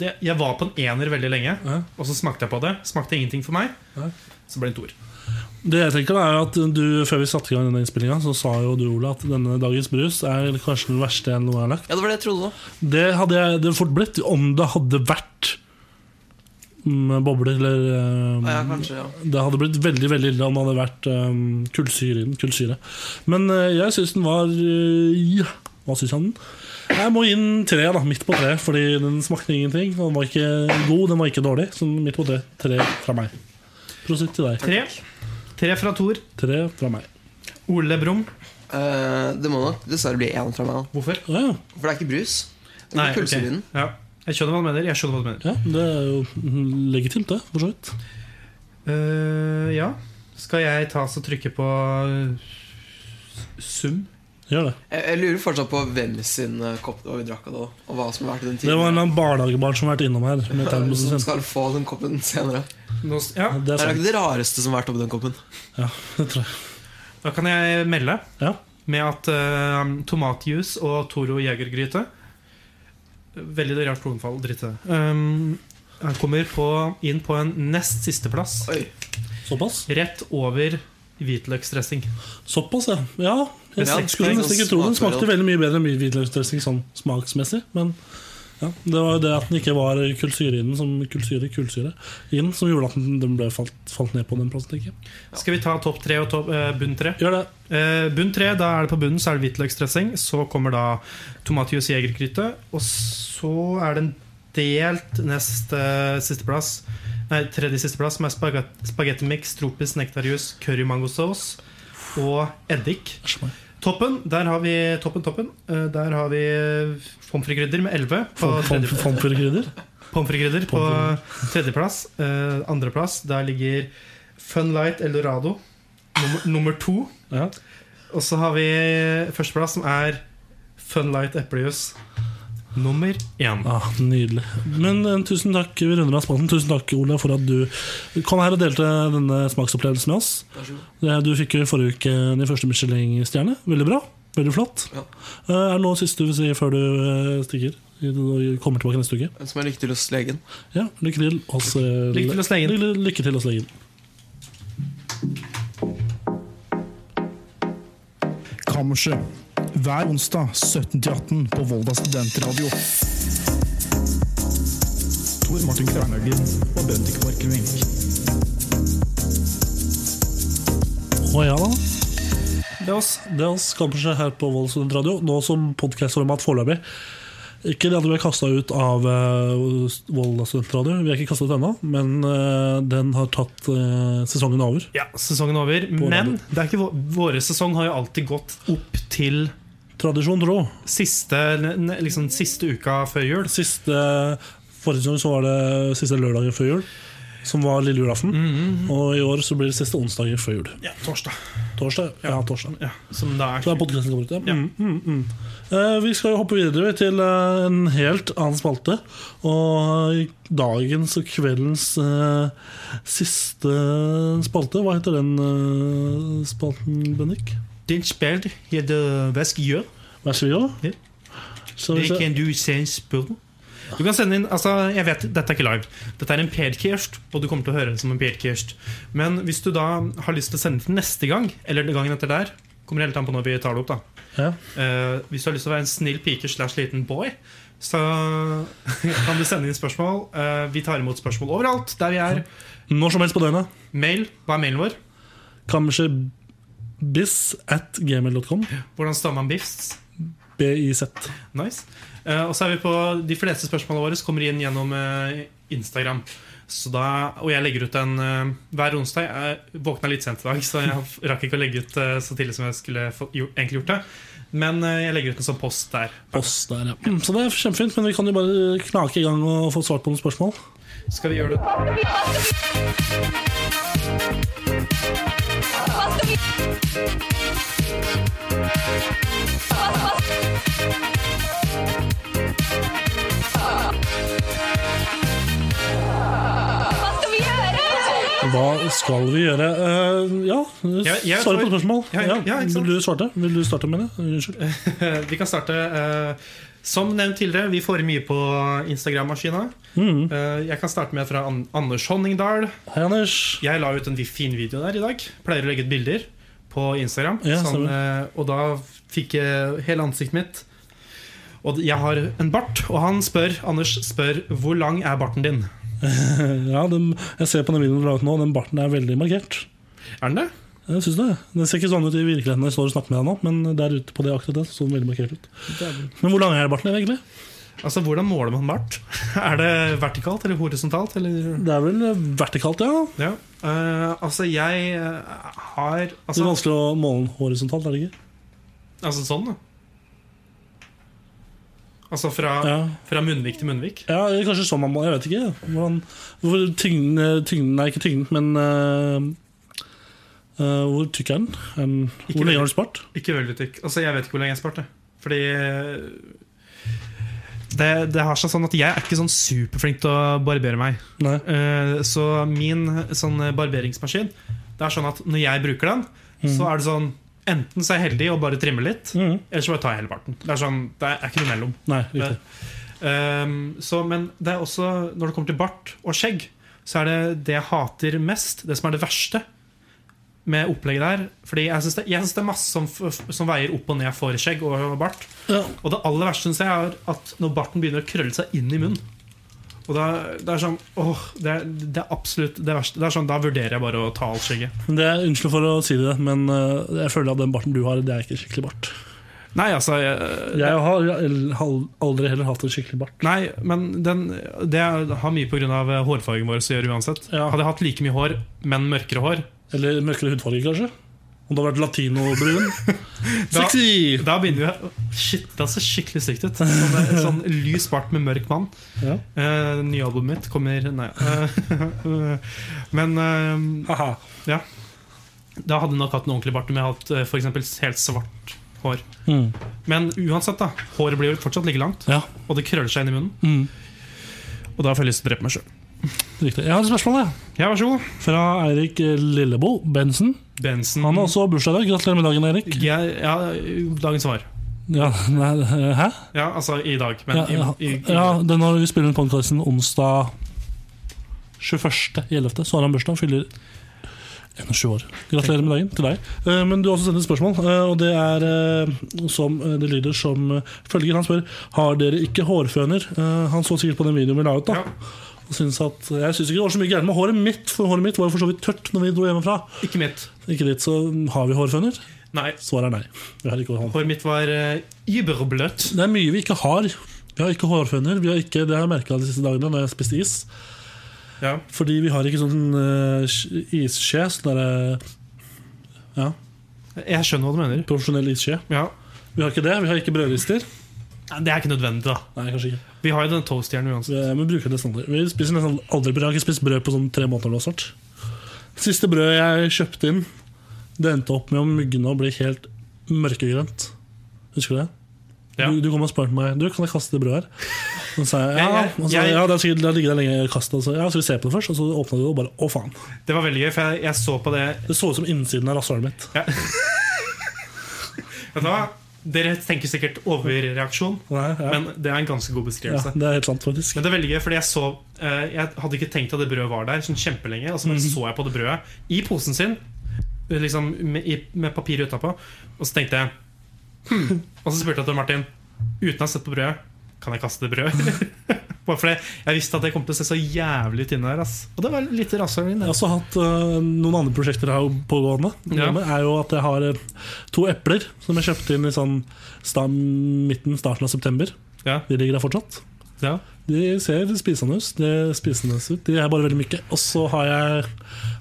Speaker 3: Det, jeg var på en ener veldig lenge,
Speaker 2: Ja.
Speaker 3: og så smakte jeg på det. Smakte ingenting for meg.
Speaker 2: Ja.
Speaker 3: Så ble det en toer.
Speaker 2: Det jeg tenker da er at du, Før vi satte i gang denne innspillinga, så sa jo du, Ole, at denne dagens brus er kanskje den verste jeg noen gang har lagt.
Speaker 5: Ja, det var det jeg trodde òg.
Speaker 2: Det hadde jeg det fort blitt om det hadde vært mm, bobler eller eh,
Speaker 5: Ja, kanskje, ja.
Speaker 2: Det hadde blitt veldig veldig ille om det hadde vært um, kullsyre i den. Kullsyre. Men eh, jeg syns den var eh, ja. Hva syns jeg om den? Jeg må gi den tre, da. Midt på tre. Fordi den smakte ingenting. og Den var ikke god, den var ikke dårlig. Så midt på tre. Tre fra meg. Prosit til deg.
Speaker 3: Tre. Tre fra Tor.
Speaker 2: Tre fra meg.
Speaker 3: Ole Brumm.
Speaker 5: Eh, det må nok dessverre bli én fra meg, da.
Speaker 3: Hvorfor?
Speaker 2: Å Ja,
Speaker 5: For det er ikke brus. Det blir
Speaker 3: ok.
Speaker 5: kullsyre i den.
Speaker 3: Ja. Jeg skjønner hva du mener. Jeg skjønner hva du mener.
Speaker 2: ja, det er jo mm, legitimt, det. For så vidt.
Speaker 3: Eh, ja. Skal jeg ta og trykke på eh, sum?
Speaker 2: Gjør det.
Speaker 5: Jeg, jeg lurer fortsatt på hvem sin eh, kopp det var vi drakk av da, og hva som har vært i den
Speaker 2: Det var en eller
Speaker 5: tidligere.
Speaker 2: annen barnehagebarn som har vært innom her med termosen
Speaker 5: Som
Speaker 2: sin.
Speaker 5: skal få den koppen senere.
Speaker 3: Nå, s- ja,
Speaker 2: Det er
Speaker 5: Det er
Speaker 2: sant.
Speaker 5: ikke det rareste som har vært oppi den koppen.
Speaker 2: Ja, det tror jeg.
Speaker 3: da kan jeg melde eh,
Speaker 2: Ja.
Speaker 3: med at uh, tomatjuice og Toro jegergryte Veldig rart tonefall. Dritt i det. Um, han kommer på, inn på en nest sisteplass,
Speaker 5: Oi.
Speaker 2: Såpass?
Speaker 3: rett over hvitløksdressing.
Speaker 2: Såpass, ja. ja jeg
Speaker 5: Ja,
Speaker 2: skulle
Speaker 5: det er
Speaker 2: nesten ikke
Speaker 5: sånn
Speaker 2: tro den
Speaker 5: smaksforhold.
Speaker 2: smakte veldig mye bedre enn hvitløksdressing sånn smaksmessig. Men ja, det var jo det at den ikke var kullsyre i den som kulsyre, kulsyre i den, som gjorde at den, den ble falt, falt ned på den plassen. tenker jeg.
Speaker 3: Skal vi ta topp tre og topp, eh, bunn tre?
Speaker 2: Gjør det.
Speaker 3: Eh, bunn tre, da er det på bunnen så er det hvitløksdressing. Så kommer da tomatjus jegergryte. Og så er det en delt nest eh, sisteplass Nei, tredje sisteplass, som er spaget- spagettimix, tropisk nektarjus, curry mangosaus og eddik.
Speaker 2: Æsj meg.
Speaker 3: Toppen, der har vi toppen, toppen. Eh, der har vi pommes frites-krydder med 11. På
Speaker 2: Fom- fom-
Speaker 3: tredje-
Speaker 2: Fomfyrkrydder.
Speaker 3: Pommes frites-krydder på
Speaker 2: Pommes
Speaker 3: tredjeplass. Eh, andreplass, der ligger Fun Light Eldorado. Nummer, nummer to.
Speaker 2: Ja.
Speaker 3: Og så har vi førsteplass, som er Fun Light eplejus. Nummer én.
Speaker 2: Ah, nydelig. Men eh, tusen takk, vi runder av spalten. Tusen takk, Ole, for at du kom her og delte denne smaksopplevelsen med oss. Eh, Du fikk jo i forrige uke din første Michelin-stjerne. Veldig bra. Veldig flott.
Speaker 5: Ja.
Speaker 2: Eh, Er det noe siste du vil si før du eh, stikker? Du kommer tilbake neste uke?
Speaker 5: Som er lykke til hos legen.
Speaker 2: Ja, lykke til hos eh,
Speaker 3: Lykke til hos legen.
Speaker 2: Lykke, lykke til hos legen.
Speaker 1: Kammerset. Hver onsdag 17-18 på Volda Studentradio. Tor Martin Kvernhaugen og Bendik Borchgrevink.
Speaker 2: Å ja da. Det er oss. Det er oss kanskje her på Voldsund Radio, nå som podkastformat foreløpig. Ikke det at vi er kasta ut av uh, Volda studentradio, vi er ikke kasta ut ennå. Men eh, den har tatt eh, sesongen over.
Speaker 3: Ja, sesongen er over. Men det er ikke vår, våre sesong har jo alltid gått opp til
Speaker 2: Tradisjon tro.
Speaker 3: siste, n- n- liksom, siste uka før jul.
Speaker 2: Siste Forrige sesong så var det siste lørdagen før jul, som var lille julaften.
Speaker 3: Mm,
Speaker 2: Og i år så blir det siste onsdagen før jul.
Speaker 3: Ja, torsdag.
Speaker 2: Torsdag. Ja, torsdag.
Speaker 3: Ja, som da
Speaker 2: Så er
Speaker 3: er
Speaker 2: podcasten kommet ut, ja.
Speaker 3: Ja.
Speaker 2: Mm, mm, mm. Eh, vi skal jo hoppe videre til eh, en helt annen spalte. Og eh, dagens og kveldens eh, siste spalte Hva heter den eh, spalten, Bendik?
Speaker 3: Den spilt heter Hva skal jeg gjøre?
Speaker 2: Vær så god.
Speaker 3: Ja.
Speaker 2: Skal vi
Speaker 3: Det
Speaker 2: se.
Speaker 3: kan du sende spørsmål. Du kan sende inn, altså jeg vet, Dette er ikke live. Dette er en pedcast, og du kommer til å høre det som en pedcast. Men hvis du da har lyst til å sende til neste gang, eller gangen etter der Kommer helt an på når vi tar det opp da
Speaker 2: Ja.
Speaker 3: Eh, Hvis du har lyst til å være en snill pike slash liten boy, så kan du sende inn spørsmål. Eh, vi tar imot spørsmål overalt der vi er.
Speaker 2: Når som helst på døgnet.
Speaker 3: Mail. Hva er mailen vår?
Speaker 2: Kammersebiz at gmail.com.
Speaker 3: Hvordan stammer man biffs?
Speaker 2: BIZ.
Speaker 3: Nice. Eh, og så er vi på De fleste spørsmålene våre kommer inn gjennom eh, Instagram. Så da, og jeg legger ut en eh, hver onsdag. Jeg våkna litt sent i dag, så jeg rakk ikke å legge ut eh, så tidlig som jeg skulle få, jo, egentlig gjort det. Men eh, jeg legger ut en sånn post der.
Speaker 2: Oss der, ja. Mm, Så det er kjempefint, men vi kan jo bare knake i gang og få svart på noen spørsmål.
Speaker 3: Skal vi gjøre det?
Speaker 2: Hva skal vi gjøre? Eh, ja,
Speaker 3: Ja, jeg
Speaker 2: svare på
Speaker 3: tror-
Speaker 2: spørsmål.
Speaker 3: Ja, ja, ja, ikke sant?
Speaker 2: Vil du svarte? Vil du starte med det? Unnskyld.
Speaker 3: Eh, Vi kan starte. eh, Som nevnt tidligere, vi får mye på Instagram-maskina. Eh, Jeg kan starte med fra An- Anders Honningdal.
Speaker 2: Hei, Anders.
Speaker 3: Jeg la ut en fin video der i dag. Pleier å legge ut bilder på Instagram.
Speaker 2: Ja,
Speaker 3: sånn, eh, og da fikk jeg hele ansiktet mitt. Og jeg har en bart, og han spør, Anders spør hvor lang er barten din.
Speaker 2: Ja, den, jeg ser på den videoen du la ut nå, den barten er veldig markert.
Speaker 3: Er den det?
Speaker 2: Jeg synes det. Den ser ikke sånn ut i virkeligheten når jeg står og snakker med deg nå, men der ute på det akkurat det, så så den veldig markert ut. Men hvor lang er barten din egentlig?
Speaker 3: Altså, Hvordan måler man bart? Er det vertikalt eller horisontalt? Eller?
Speaker 2: Det er vel vertikalt, ja.
Speaker 3: Ja. Eh, altså, jeg eh, har
Speaker 2: Det er
Speaker 3: altså,
Speaker 2: vanskelig å måle den horisontalt, er det ikke?
Speaker 3: altså sånn, da. Altså fra,
Speaker 2: Ja.
Speaker 3: fra munnvik til munnvik.
Speaker 2: Ja, eller kanskje sånn man må, jeg vet ikke hvordan, Hvor tyngden, eh, tyngden er ikke tyngden, men eh, eh, Hvor tykk er den? Er den hvor
Speaker 3: veldig.
Speaker 2: lenge har du spart?
Speaker 3: Ikke veldig tykk. Altså, jeg vet ikke hvor lenge jeg sparte. Fordi eh, det, det har seg sånn at jeg er ikke sånn superflink til å barbere meg.
Speaker 2: Nei.
Speaker 3: Eh, Så min sånn barberingsmaskin Det er sånn at når jeg bruker den, så er det sånn Enten så er jeg heldig og bare trimmer litt,
Speaker 2: Mhm.
Speaker 3: eller så bare tar jeg hele parten. Det er sånn, det er ikke noe mellom.
Speaker 2: Nei, riktig.
Speaker 3: Ehm, så, men det er også, når det kommer til bart og skjegg, så er det det jeg hater mest, det som er det verste med opplegget der. Fordi jeg syns det, jeg synes det er masse som, f- som veier opp og ned for skjegg og bart.
Speaker 2: Ja.
Speaker 3: Og det aller verste synes jeg er at når barten begynner å krølle seg inn i munnen. Og da, det er sånn åh, det, er, det er absolutt det verste. Det er sånn, Da vurderer jeg bare å ta alt skjegget.
Speaker 2: Men det er, unnskyld for å si det, men eh, jeg føler at den barten du har, det er ikke skikkelig bart.
Speaker 3: Nei, altså jeg,
Speaker 2: Jeg har el- hal- aldri heller hatt en skikkelig bart.
Speaker 3: Nei, men den, det har mye pga. hårfargen vår å gjøre uansett.
Speaker 2: Ja.
Speaker 3: Hadde jeg hatt like mye hår, men mørkere hår,
Speaker 2: Eller mørkere hudfarge, kanskje. Om det har vært latinobrun.
Speaker 3: Da-
Speaker 2: Sexy!
Speaker 3: Da begynner vi Shit, det ser skikkelig stygt ut. Sånn, eh, sånn lys bart med mørk mann.
Speaker 2: Ja.
Speaker 3: Eh, nye albumet mitt kommer Nei. eh, men eh,
Speaker 2: Haha.
Speaker 3: da hadde jeg nok hatt en ordentlig bart om jeg hadde hatt f.eks. helt svart hår.
Speaker 2: Mm.
Speaker 3: Men uansett, da. Håret blir jo fortsatt like langt,
Speaker 2: Ja.
Speaker 3: og det krøller seg inn i munnen.
Speaker 2: Mm.
Speaker 3: Og da får jeg lyst til å drepe meg sjøl.
Speaker 2: Riktig. Jeg har et spørsmål jeg.
Speaker 3: Ja, vær så god.
Speaker 2: fra Eirik Lillebo Bensen.
Speaker 3: Bensen.
Speaker 2: Han har også bursdag i dag. Gratulerer med dagen, Eirik.
Speaker 3: ja, ja, dagens svar.
Speaker 2: Ja, nei, hæ?
Speaker 3: Ja, altså i dag, men
Speaker 2: Ja, ja,
Speaker 3: i, i, i
Speaker 2: ja det er når vi spiller inn podkasten onsdag 21.11., så har han bursdag. Han fyller 21 år. Gratulerer med dagen til deg. Eh, Men du har også sendt et spørsmål, eh, og det er eh, som eh, det lyder som eh, følger. Han spør har dere ikke hårføner. Eh, Han så sikkert på den videoen vi la ut. da
Speaker 3: Ja.
Speaker 2: Og synes at, jeg syns ikke det var så mye gærent med håret mitt, for håret mitt var jo for så vidt tørt når vi dro hjemmefra.
Speaker 3: Ikke mitt.
Speaker 2: Ikke litt, så har vi hårføner?
Speaker 3: Nei.
Speaker 2: Svaret er nei. Vi har ikke hårføner.
Speaker 3: Håret mitt var uh, überbløtt.
Speaker 2: Det er mye vi ikke har. Vi har ikke hårføner. Vi har ikke, det har jeg merka de siste dagene når jeg har spist is.
Speaker 3: Ja.
Speaker 2: Fordi vi har ikke sånn uh, isskje. Sånn der,
Speaker 3: Jeg skjønner hva du mener.
Speaker 2: profesjonell isskje.
Speaker 3: Ja.
Speaker 2: Vi har ikke det. Vi har ikke brødrister.
Speaker 3: Nei, Det er ikke nødvendig, da.
Speaker 2: Nei, kanskje ikke.
Speaker 3: Vi har jo denne toastjernen uansett.
Speaker 2: Vi, vi Eh, bruker nesten aldri. Vi spiser nesten aldri brød. Jeg har ikke spist brød på sånn tre måneder nå snart. Siste brød jeg kjøpte inn, det endte opp med å mugne og bli helt mørkegrønt. Husker du det?
Speaker 3: Ja.
Speaker 2: Du, du kom og spurte meg Du, kan jeg kaste det brødet her. Og så sa jeg ja,
Speaker 3: Jeg- jeg-
Speaker 2: og så, sa jeg, ja det har sikkert det har ligget der lenge. Kast det. Og så, ja, skal vi se på det først? Og så åpna du det, og bare å faen.
Speaker 3: Det var veldig gøy, for jeg, jeg så på det
Speaker 2: Det så ut som innsiden av rasshølet mitt.
Speaker 3: Vet du hva? Dere tenker sikkert overreaksjon,
Speaker 2: Nei, ja.
Speaker 3: men det er en ganske god
Speaker 2: ja,
Speaker 3: beskrivelse.
Speaker 2: det er helt sant, faktisk.
Speaker 3: Men det er veldig gøy, fordi jeg så eh, Jeg hadde ikke tenkt at det brødet var der sånn kjempelenge. Og så bare så jeg på det brødet i posen sin, liksom med, i, med papir utapå, og så tenkte jeg hm. Og så spurte jeg til Martin, uten å ha sett på brødet, kan jeg kaste det brødet? Bare fordi jeg visste at det kom til å se så jævlig ut inne der. Ass. Og det var litt rasshøl
Speaker 2: Jeg
Speaker 3: inne.
Speaker 2: har også hatt øh, noen andre prosjekter her pågående. Det
Speaker 3: Ja.
Speaker 2: ene er jo at jeg har øh, to epler som jeg kjøpte inn i sånn sta- midten, starten av september.
Speaker 3: Ja.
Speaker 2: De ligger der fortsatt.
Speaker 3: Ja.
Speaker 2: De ser spisende ut. De, er spisende ut. de er bare veldig myke. Og så har jeg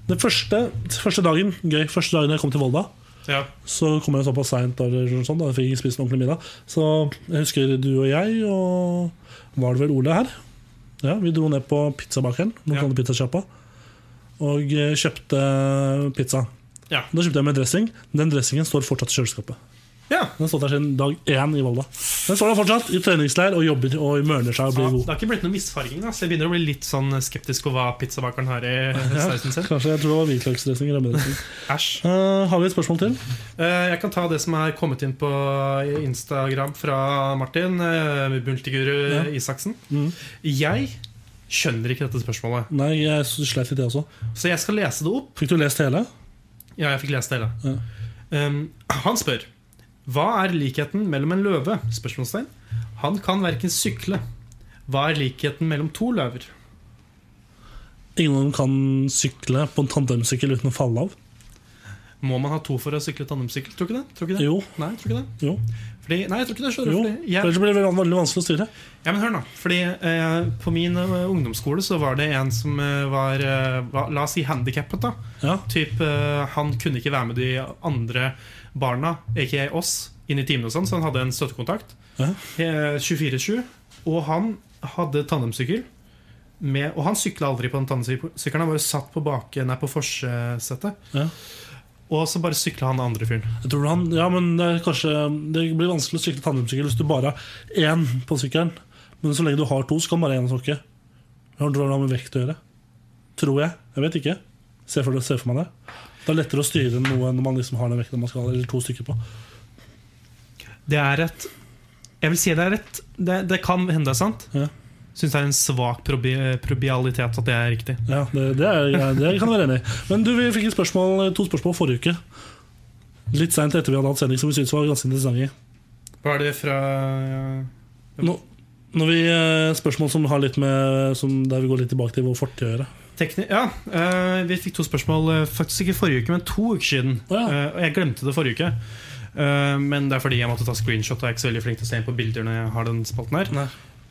Speaker 2: den første, første dagen Gøy, første dagen jeg kom til Volda,
Speaker 3: Ja.
Speaker 2: så kom jeg såpass seint. Sånn, da jeg fikk ikke spist en ordentlig middag. Så jeg husker du og jeg, og var det vel Ole her? Ja, Vi dro ned på pizzabakeren, noen
Speaker 3: Ja.
Speaker 2: kaller det pizzasjappa, og eh, kjøpte pizza.
Speaker 3: Ja.
Speaker 2: Da kjøpte jeg med dressing. Den dressingen står fortsatt i kjøleskapet.
Speaker 3: ja.
Speaker 2: Den har stått der siden dag én i Volda. Den står der fortsatt i treningsleir og jobber og mørner seg og
Speaker 3: Ja,
Speaker 2: blir
Speaker 3: det
Speaker 2: god.
Speaker 3: har ikke blitt noen misfarging, da, så jeg begynner å bli litt sånn skeptisk på hva pizzabakeren har i sausen sin.
Speaker 2: Kanskje jeg tror det var hvitløksdressing. rømmedressing.
Speaker 3: Æsj.
Speaker 2: Eh, har vi et spørsmål til?
Speaker 3: Eh, Jeg kan ta det som er kommet inn på Instagram fra Martin, eh, multiguru
Speaker 2: Ja. Mm.
Speaker 3: Isaksen. Jeg skjønner ikke dette spørsmålet,
Speaker 2: Nei, jeg s- sleit litt, jeg også.
Speaker 3: så jeg skal lese det opp.
Speaker 2: Fikk du lest hele?
Speaker 3: Ja, jeg fikk lest det hele. Um, han spør Hva er likheten mellom en løve? Spørsmålstegn. Han kan verken sykle. Hva er likheten mellom to løver?
Speaker 2: Ingen av dem kan sykle på en tandemsykkel uten å falle av.
Speaker 3: Må man ha to for å sykle tandemsykkel? Tror ikke det? Tror ikke det?
Speaker 2: Jo.
Speaker 3: Nei, tror ikke det.
Speaker 2: Jo.
Speaker 3: Fordi, nei, jeg tror ikke det. Skjønner,
Speaker 2: Jo,
Speaker 3: du, fordi jeg,
Speaker 2: Ellers blir det veldig vanskelig å styre.
Speaker 3: Ja, men hør nå Fordi eh, På min eh, ungdomsskole så var det en som eh, var, eh, var La oss si handikappet da
Speaker 2: Ja.
Speaker 3: Typ eh, Han kunne ikke være med de andre barna Ikke oss Inn i timen og sånn Så han hadde en støttekontakt
Speaker 2: Ja.
Speaker 3: eh, 24-7 Og han hadde tandemsykkel med, Og han syklet aldri på den tandemsykkelen Han var jo satt på baken Nei, på forsetet
Speaker 2: Ja.
Speaker 3: Og så bare syklet han den andre fyren
Speaker 2: Jeg tror han, ja, men det, er kanskje, det blir vanskelig å sykle tandemsykkel hvis du bare har én på sykkelen. Men så lenge du har to, så kan bare én tråkke. Det har noe med vekt å gjøre. Tror jeg. Jeg vet ikke. Se for, se for meg det. Det er lettere å styre noe når man liksom har den vekten man skal, eller to stykker på.
Speaker 3: Det er et Jeg vil si det er rett. Det, det kan hende det er sant.
Speaker 2: Ja.
Speaker 3: Syns det er en svak probi probialitet at det er riktig.
Speaker 2: Ja, det, det, er, ja, det kan jeg være enig i. Men du, vi fikk et spørsmål, to spørsmål forrige uke. Litt seint etter vi hadde hatt sending, som vi syntes var ganske interessante.
Speaker 3: Hva er det fra eh,
Speaker 2: Nå, når vi, eh, spørsmål som har litt med som Der vi går litt tilbake til vår fortid å gjøre.
Speaker 3: Tekni ja, eh, Vi fikk to spørsmål eh, faktisk ikke forrige uke, men to uker siden.
Speaker 2: Å, ja.
Speaker 3: Eh, og jeg glemte det forrige uke. Eh, men det er fordi jeg måtte ta screenshot. Og jeg er ikke så veldig flink til å se inn på bilder når jeg har den spalten her.
Speaker 2: Nei.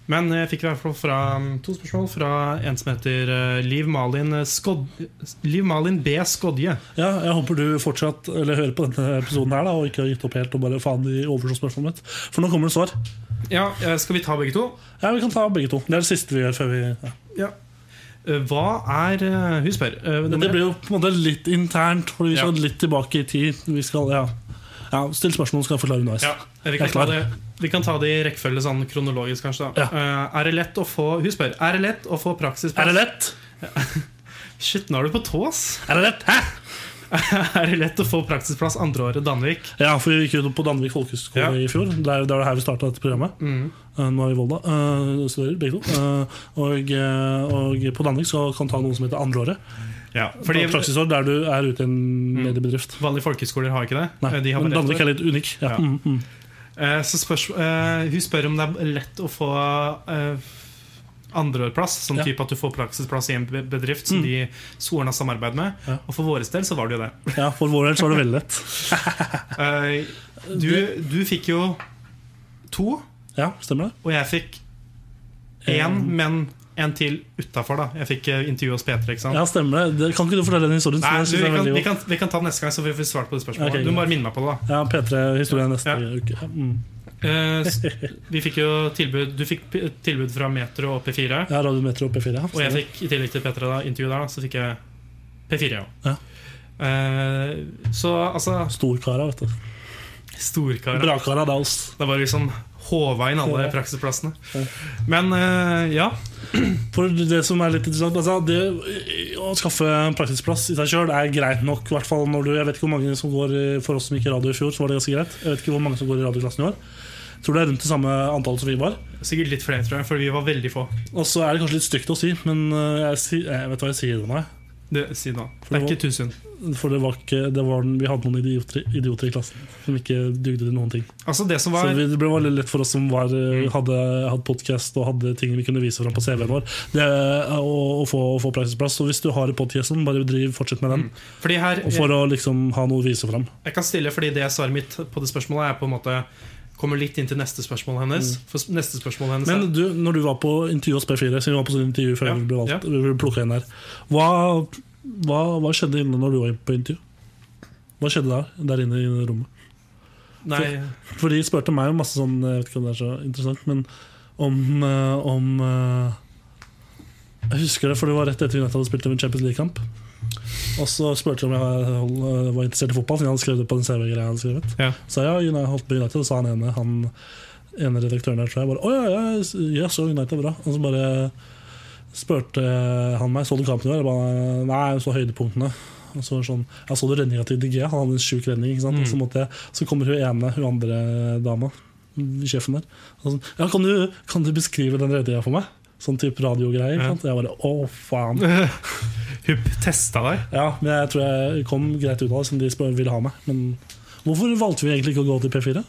Speaker 3: Men eh, jeg fikk i hvert fall fra mm, to spørsmål fra en som heter eh, Liv Malin, Skod Liv Malin B. Skodje.
Speaker 2: Ja, jeg håper du fortsatt Eller hører på denne episoden her da og ikke har gitt opp helt og bare faen de overså spørsmålet mitt. For nå kommer det svar.
Speaker 3: Ja, eh, skal vi ta begge to?
Speaker 2: Ja, Vi kan ta begge to. Det er det siste vi gjør før vi ja.
Speaker 3: Eh, hva er eh, Hun spør. eh,
Speaker 2: Men
Speaker 3: nummer-
Speaker 2: det blir jo på en måte litt internt, for vi skal
Speaker 3: Ja.
Speaker 2: litt tilbake i tid. Vi skal, ja ja, Still spørsmål, så skal jeg forklare underveis.
Speaker 3: Ja, vi
Speaker 2: Jeg
Speaker 3: kan,
Speaker 2: er
Speaker 3: ta
Speaker 2: klar.
Speaker 3: det, vi kan ta det i rekkefølge sånn kronologisk, kanskje. Da.
Speaker 2: Ja.
Speaker 3: Eh, er det lett å få Hun spør er det lett å få praksisplass.
Speaker 2: Er det lett?
Speaker 3: Shit, nå er du på tå, ass!
Speaker 2: Er det lett? Hæ?
Speaker 3: er det lett å få praksisplass andreåret Danvik?
Speaker 2: Ja, for vi gikk jo på Danvik folkehøgskole
Speaker 3: Ja. Mm.
Speaker 2: i fjor. Det er jo det er jo her vi starta dette programmet. Eh, Nå er vi i Volda. eh, studerer begge to. Eh, og, eh, og på Danvik så kan du ta noe som heter andreåret.
Speaker 3: Ja,
Speaker 2: Fordi,
Speaker 3: fordi
Speaker 2: praksisår der du er ute i en mediebedrift.
Speaker 3: vanlige folkeskoler har ikke det.
Speaker 2: Nei,
Speaker 3: Eh, De har
Speaker 2: men
Speaker 3: bare
Speaker 2: Danvik
Speaker 3: ett år.
Speaker 2: er litt unik. Ja.
Speaker 3: Ja.
Speaker 2: Mm, mm.
Speaker 3: Eh, så spørs, eh, hun spør om det er lett å få eh, andreårplass, som
Speaker 2: Ja. Mm.
Speaker 3: sånn type at du får praksisplass i en be- bedrift som de skolen har samarbeid med.
Speaker 2: Ja.
Speaker 3: Og for vår del så var det jo det.
Speaker 2: ja, For vår del så var det veldig lett.
Speaker 3: Eh, du, du fikk jo to.
Speaker 2: Ja, stemmer det?
Speaker 3: Og jeg fikk én, men en til utafor, da. Jeg fikk eh, intervju hos P3, ikke sant.
Speaker 2: Ja, stemmer det. Det- Kan ikke du fortelle den historien?
Speaker 3: Nei,
Speaker 2: Den
Speaker 3: du,
Speaker 2: synes
Speaker 3: vi,
Speaker 2: jeg er
Speaker 3: kan,
Speaker 2: veldig
Speaker 3: vi,
Speaker 2: god.
Speaker 3: kan, vi kan ta den neste gang, så vi får svart på det spørsmålet.
Speaker 2: Ok,
Speaker 3: du
Speaker 2: greit.
Speaker 3: må bare minne meg på det, da.
Speaker 2: Ja, P3-historien neste
Speaker 3: Ja.
Speaker 2: uke. Ja, Mm.
Speaker 3: Eh, s- vi fikk jo tilbud Du fikk p- tilbud fra Metro og P4.
Speaker 2: Jeg har Radio Metro P4. Ja.
Speaker 3: Og jeg fikk i tillegg til P3 da, intervju der, da, så fikk jeg P4, ja.
Speaker 2: Ja.
Speaker 3: Eh, så altså
Speaker 2: Storkara, vet du.
Speaker 3: Storkar.
Speaker 2: Brakara, det er oss.
Speaker 3: Det var liksom håva inn alle
Speaker 2: Ja.
Speaker 3: praksisplassene.
Speaker 2: Ja.
Speaker 3: Men eh, ja.
Speaker 2: For det som er litt interessant altså, det, Å skaffe en praksisplass i seg sjøl er greit nok. i Hvert fall når du, jeg vet ikke hvor mange som går i- For oss som gikk i radio i fjor, så var det ganske greit. Jeg vet ikke hvor mange som går i radioklassen i år. Tror det er rundt det samme antallet som vi var.
Speaker 3: Sikkert litt flere, tror jeg, for vi var veldig få.
Speaker 2: Og så er det kanskje litt stygt å si, men eh, jeg, si, jeg vet hva jeg sier nå. jeg.
Speaker 3: Det, si da. Det
Speaker 2: det
Speaker 3: er
Speaker 2: var-
Speaker 3: ikke tusen.
Speaker 2: For det var ikke, det var, vi hadde noen idioter, idioter i klassen som ikke dugde til noen ting.
Speaker 3: Altså det som
Speaker 2: Så
Speaker 3: var
Speaker 2: vi- det ble veldig lett for oss som var, eh, hadde, hadde podkast og hadde ting vi kunne vise fram på CV-en vår, det, eh, å, å, få, å få praksisplass. Så hvis du har podkast, bare driv, fortsett med den.
Speaker 3: Fordi her
Speaker 2: Og for å liksom ha noe å vise fram.
Speaker 3: Jeg kan stille fordi det svaret mitt på det spørsmålet er på en måte Kommer litt inn til neste spørsmål hennes. For s- neste spørsmål hennes
Speaker 2: Mm. Men du, når du var på intervju hos P4, siden vi var på sånn intervju før
Speaker 3: Ja,
Speaker 2: vi ble, valgt,
Speaker 3: ja.
Speaker 2: vi ble plukket inn her, hva, hva, hva skjedde inne når du var på intervju? Hva skjedde der, der inne i rommet?
Speaker 3: er Nei,
Speaker 2: For de spurte meg om masse sånn Jeg vet ikke om det er så interessant, men om, eh, om eh, Jeg husker det, for det var rett etter vi nettopp hadde spilt en Champions League-kamp. Og så spurte de om jeg hold- eh, var interessert i fotball, siden jeg hadde skrevet det på den CV-greia. jeg hadde skrevet
Speaker 3: Ja.
Speaker 2: Så ja, United jeg holdt på United, og så han ene, han ene redaktøren der, tror jeg, bare Å ja, ja, s- ja, så United er bra. Og så bare spurte han meg Så du kampen i går. Jeg bare, Nei, jeg så høydepunktene. Og så var det sånn, jeg så du redninga til DG. Han hadde en sjuk redning. Ikke sant? Og så, måtte jeg, så kommer hun ene, hun andre dama, sjefen der. Og sånn, ja, kan du, kan du beskrive den redninga for meg? Sånn type radiogreier. ikke sant? Og Jeg bare å, faen.
Speaker 3: Hupp testa deg.
Speaker 2: Ja, men jeg tror jeg kom greit ut av det, som de spør, ville ha meg. Men hvorfor valgte vi egentlig ikke å gå til P4?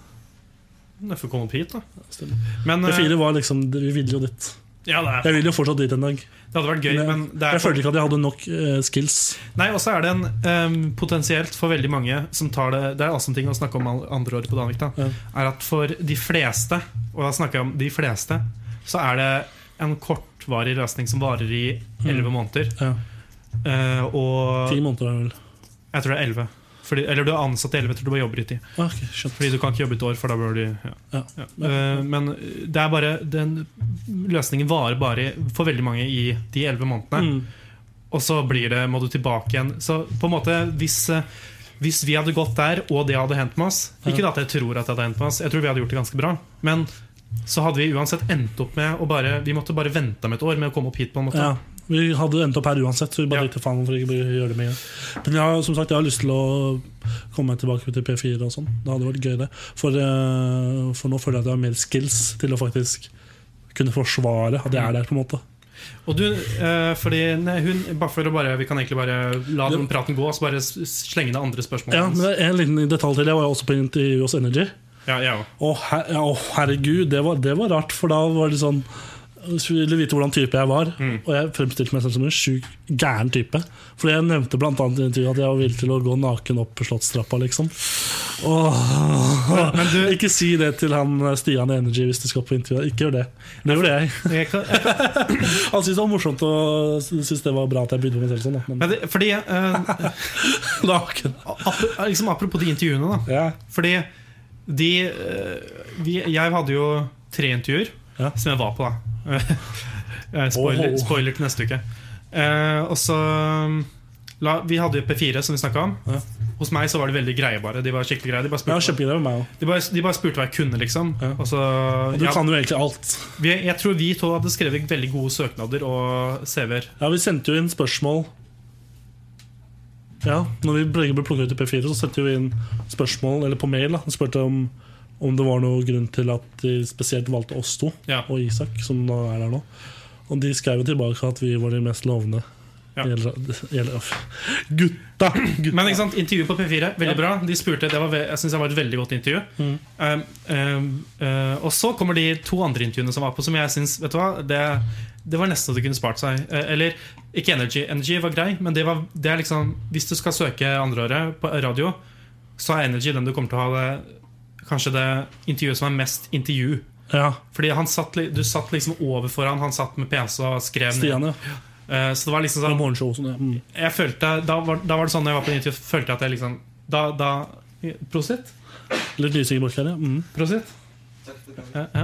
Speaker 3: Jeg får komme opp hit, da.
Speaker 2: Stemmer.
Speaker 3: Men eh,
Speaker 2: P4 var liksom, Vi ville jo dit.
Speaker 3: ja, det, er,
Speaker 2: Jeg vil jo fortsatt dit en dag.
Speaker 3: det hadde vært gøy,
Speaker 2: Men
Speaker 3: men det
Speaker 2: jeg
Speaker 3: er
Speaker 2: følte ikke at jeg hadde nok eh, skills.
Speaker 3: Nei, og så er det en eh, potensielt for veldig mange som tar det Det er også en ting å snakke om all- andre året på Danvik, da.
Speaker 2: Ja.
Speaker 3: Er at for de fleste, og da snakker jeg om de fleste, så er det en kortvarig løsning som varer i elleve måneder.
Speaker 2: Mm. Ja.
Speaker 3: Eh, og
Speaker 2: Ti måneder er det vel.
Speaker 3: Jeg tror det er 11. Fordi, eller du er ansatt i 11, jeg tror du bare jobber i 10.
Speaker 2: Ah, ok, skjønt.
Speaker 3: Fordi du kan ikke jobbe et år, for da bør du ja.
Speaker 2: Ja.
Speaker 3: Ja. Eh, Men det er bare den løsningen varer bare for veldig mange i de 11 månedene.
Speaker 2: Mm.
Speaker 3: Og så blir det, må du tilbake igjen. Så på en måte, hvis eh, hvis vi hadde gått der, og det hadde hendt med oss Ikke at jeg tror at det hadde hendt med oss, jeg tror vi hadde gjort det ganske bra. Men så hadde vi uansett endt opp med å bare Vi måtte bare vente om et år med å komme opp hit, på en måte.
Speaker 2: Ja, Vi hadde endt opp her uansett, så vi bare
Speaker 3: Ja.
Speaker 2: tenkte faen hvorfor ikke bare gjøre det med en gang. Men jeg, har- som sagt, jeg har lyst til å komme meg tilbake til P4 og sånn. Det hadde vært gøy, det. For, eh, for nå føler jeg at jeg har mer skills til å faktisk kunne forsvare at jeg er der, på en måte.
Speaker 3: Og du, eh, fordi nei, hun bare for å bare, Vi kan egentlig bare la den praten gå og så bare s- s- slenge det andre spørsmålet
Speaker 2: Ja, men
Speaker 3: hans.
Speaker 2: det er En liten detalj til. Jeg var jo også på intervju hos Energy.
Speaker 3: Ja, jeg òg.
Speaker 2: Å, her, ja, å, herregud, det var, det var rart, for da var det sånn så ville vite hvordan type jeg var, og jeg fremstilte meg selv som en sjuk gæren type. Fordi jeg nevnte blant annet i intervjuet at jeg var villig til å gå naken opp slottstrappa, liksom. Åh, Ikke si det til han eh, Stian i Energy hvis du skal på intervju. Ikke gjør det. Det gjorde jeg.
Speaker 3: Jeg kan-
Speaker 2: Han syntes det var morsomt og syntes det var bra at jeg begynte på meg selv sånn. Da.
Speaker 3: Men det, fordi eh,
Speaker 2: Men naken
Speaker 3: ap- liksom Apropos de intervjuene, da.
Speaker 2: ja.
Speaker 3: Fordi de eh, vi, Jeg hadde jo tre intervjuer
Speaker 2: Ja.
Speaker 3: som jeg var på, da. Eh, spoiler,
Speaker 2: Oh.
Speaker 3: spoiler til neste uke. Eh, og så um, la, Vi hadde jo P4, som vi snakka om.
Speaker 2: Ja.
Speaker 3: Hos meg så var de veldig greie, bare. De var skikkelig greie De bare
Speaker 2: Men han
Speaker 3: spurte,
Speaker 2: kjøper greier med meg òg.
Speaker 3: de bare, de bare spurte hva jeg kunne, liksom.
Speaker 2: Ja.
Speaker 3: Og så,
Speaker 2: Du
Speaker 3: ja,
Speaker 2: kan jo egentlig alt.
Speaker 3: vi, jeg tror vi to hadde skrevet veldig gode søknader og CV-er.
Speaker 2: Ja, vi sendte jo inn spørsmål Ja, når vi begge ble plukket ut i P4 Så sendte vi inn spørsmål, eller på mail da, og Spørte om, om det var noe grunn til at de spesielt valgte oss to
Speaker 3: Ja.
Speaker 2: Og Isak, som da er der nå Og de skrev jo tilbake at vi var de mest lovende
Speaker 3: Ja.
Speaker 2: Gjelder- gjelder- øff. Gutta! gutta.
Speaker 3: Men ikke sant, intervjuet på P4, veldig bra. De spurte, det var, ve- Jeg syns det var et veldig godt intervju.
Speaker 2: Mm.
Speaker 3: Um, um, uh, og så kommer de to andre intervjuene som var på, som jeg syns Vet du hva, det, det var nesten så du kunne spart seg. Eh, eller ikke Energy. Energy var grei, men det, var, det er liksom Hvis du skal søke andreåret på radio, så er Energy den du kommer til å ha det Kanskje det intervjuet som er mest intervju.
Speaker 2: Ja,
Speaker 3: Fordi han satt, li- du satt liksom overfor han, han satt med PC og skrev ned.
Speaker 2: Stian ja,
Speaker 3: Eh, så det var liksom
Speaker 2: fra
Speaker 3: sånn
Speaker 2: morgenshow og sånn ja. mm.
Speaker 3: jeg følte, da, var, da var det sånn når jeg var på intervju, følte jeg at jeg liksom Da, da Prosit?
Speaker 2: Litt lysing bort her, ja mm.
Speaker 3: Prosit? Ja, ja.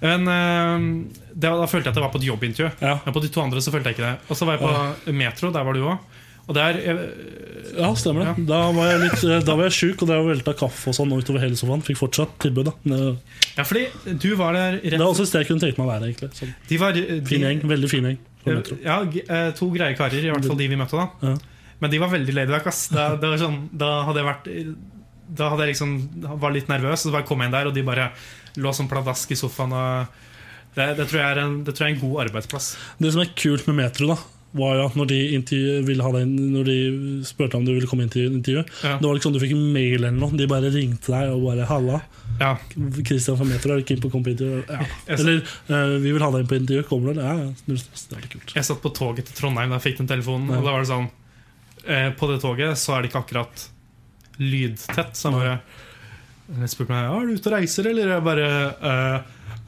Speaker 3: Men eh, det, var- da følte jeg at jeg var på et jobbintervju.
Speaker 2: Ja.
Speaker 3: Men på de to andre så følte jeg ikke det. Og så var jeg på Metro, der var du òg. Og der jeg,
Speaker 2: ja, stemmer det Da var jeg, litt, eh, da var jeg syk, og da velta kaffe og sånn Utover hele sofaen, fikk fortsatt tilbud da eh, Det
Speaker 3: Ja, fordi du var der
Speaker 2: det
Speaker 3: rett
Speaker 2: var også et sted jeg kunne tenkt meg å være egentlig sånn.
Speaker 3: De var eh, de,
Speaker 2: Fin gjeng, veldig fin gjeng. på Metro.
Speaker 3: Ja, g- eh, to greie karer, i hvert fall de vi møtte da.
Speaker 2: Ja.
Speaker 3: Men de var veldig laidback. ass. Da, det var sånn, da hadde jeg vært Da hadde jeg liksom var litt nervøs, og så bare kom jeg inn der, og de bare lå som pladask i sofaen. Og det, det, tror jeg er en, det tror jeg er en god arbeidsplass.
Speaker 2: Det som er kult med Metro, da var jo at når de, intervju- ville ha deg inn- når de spurte om du ville komme inn til intervju
Speaker 3: Ja.
Speaker 2: Det var liksom du fikk en mail eller noe. De bare ringte deg og bare 'Halla,
Speaker 3: Ja,
Speaker 2: Christian fra Metro, er du keen på å komme på intervju?' Ja.
Speaker 3: Jeg så-
Speaker 2: Eller eh, 'Vi vil ha deg inn på intervju. Kommer du?' Ja, ja. Det er litt kult.
Speaker 3: Jeg satt på toget til Trondheim da jeg fikk den telefonen, og da var det sånn eh, På det toget så er det ikke akkurat lydtett, så han bare jeg spurte meg er du ute og reiser, eller jeg bare eh,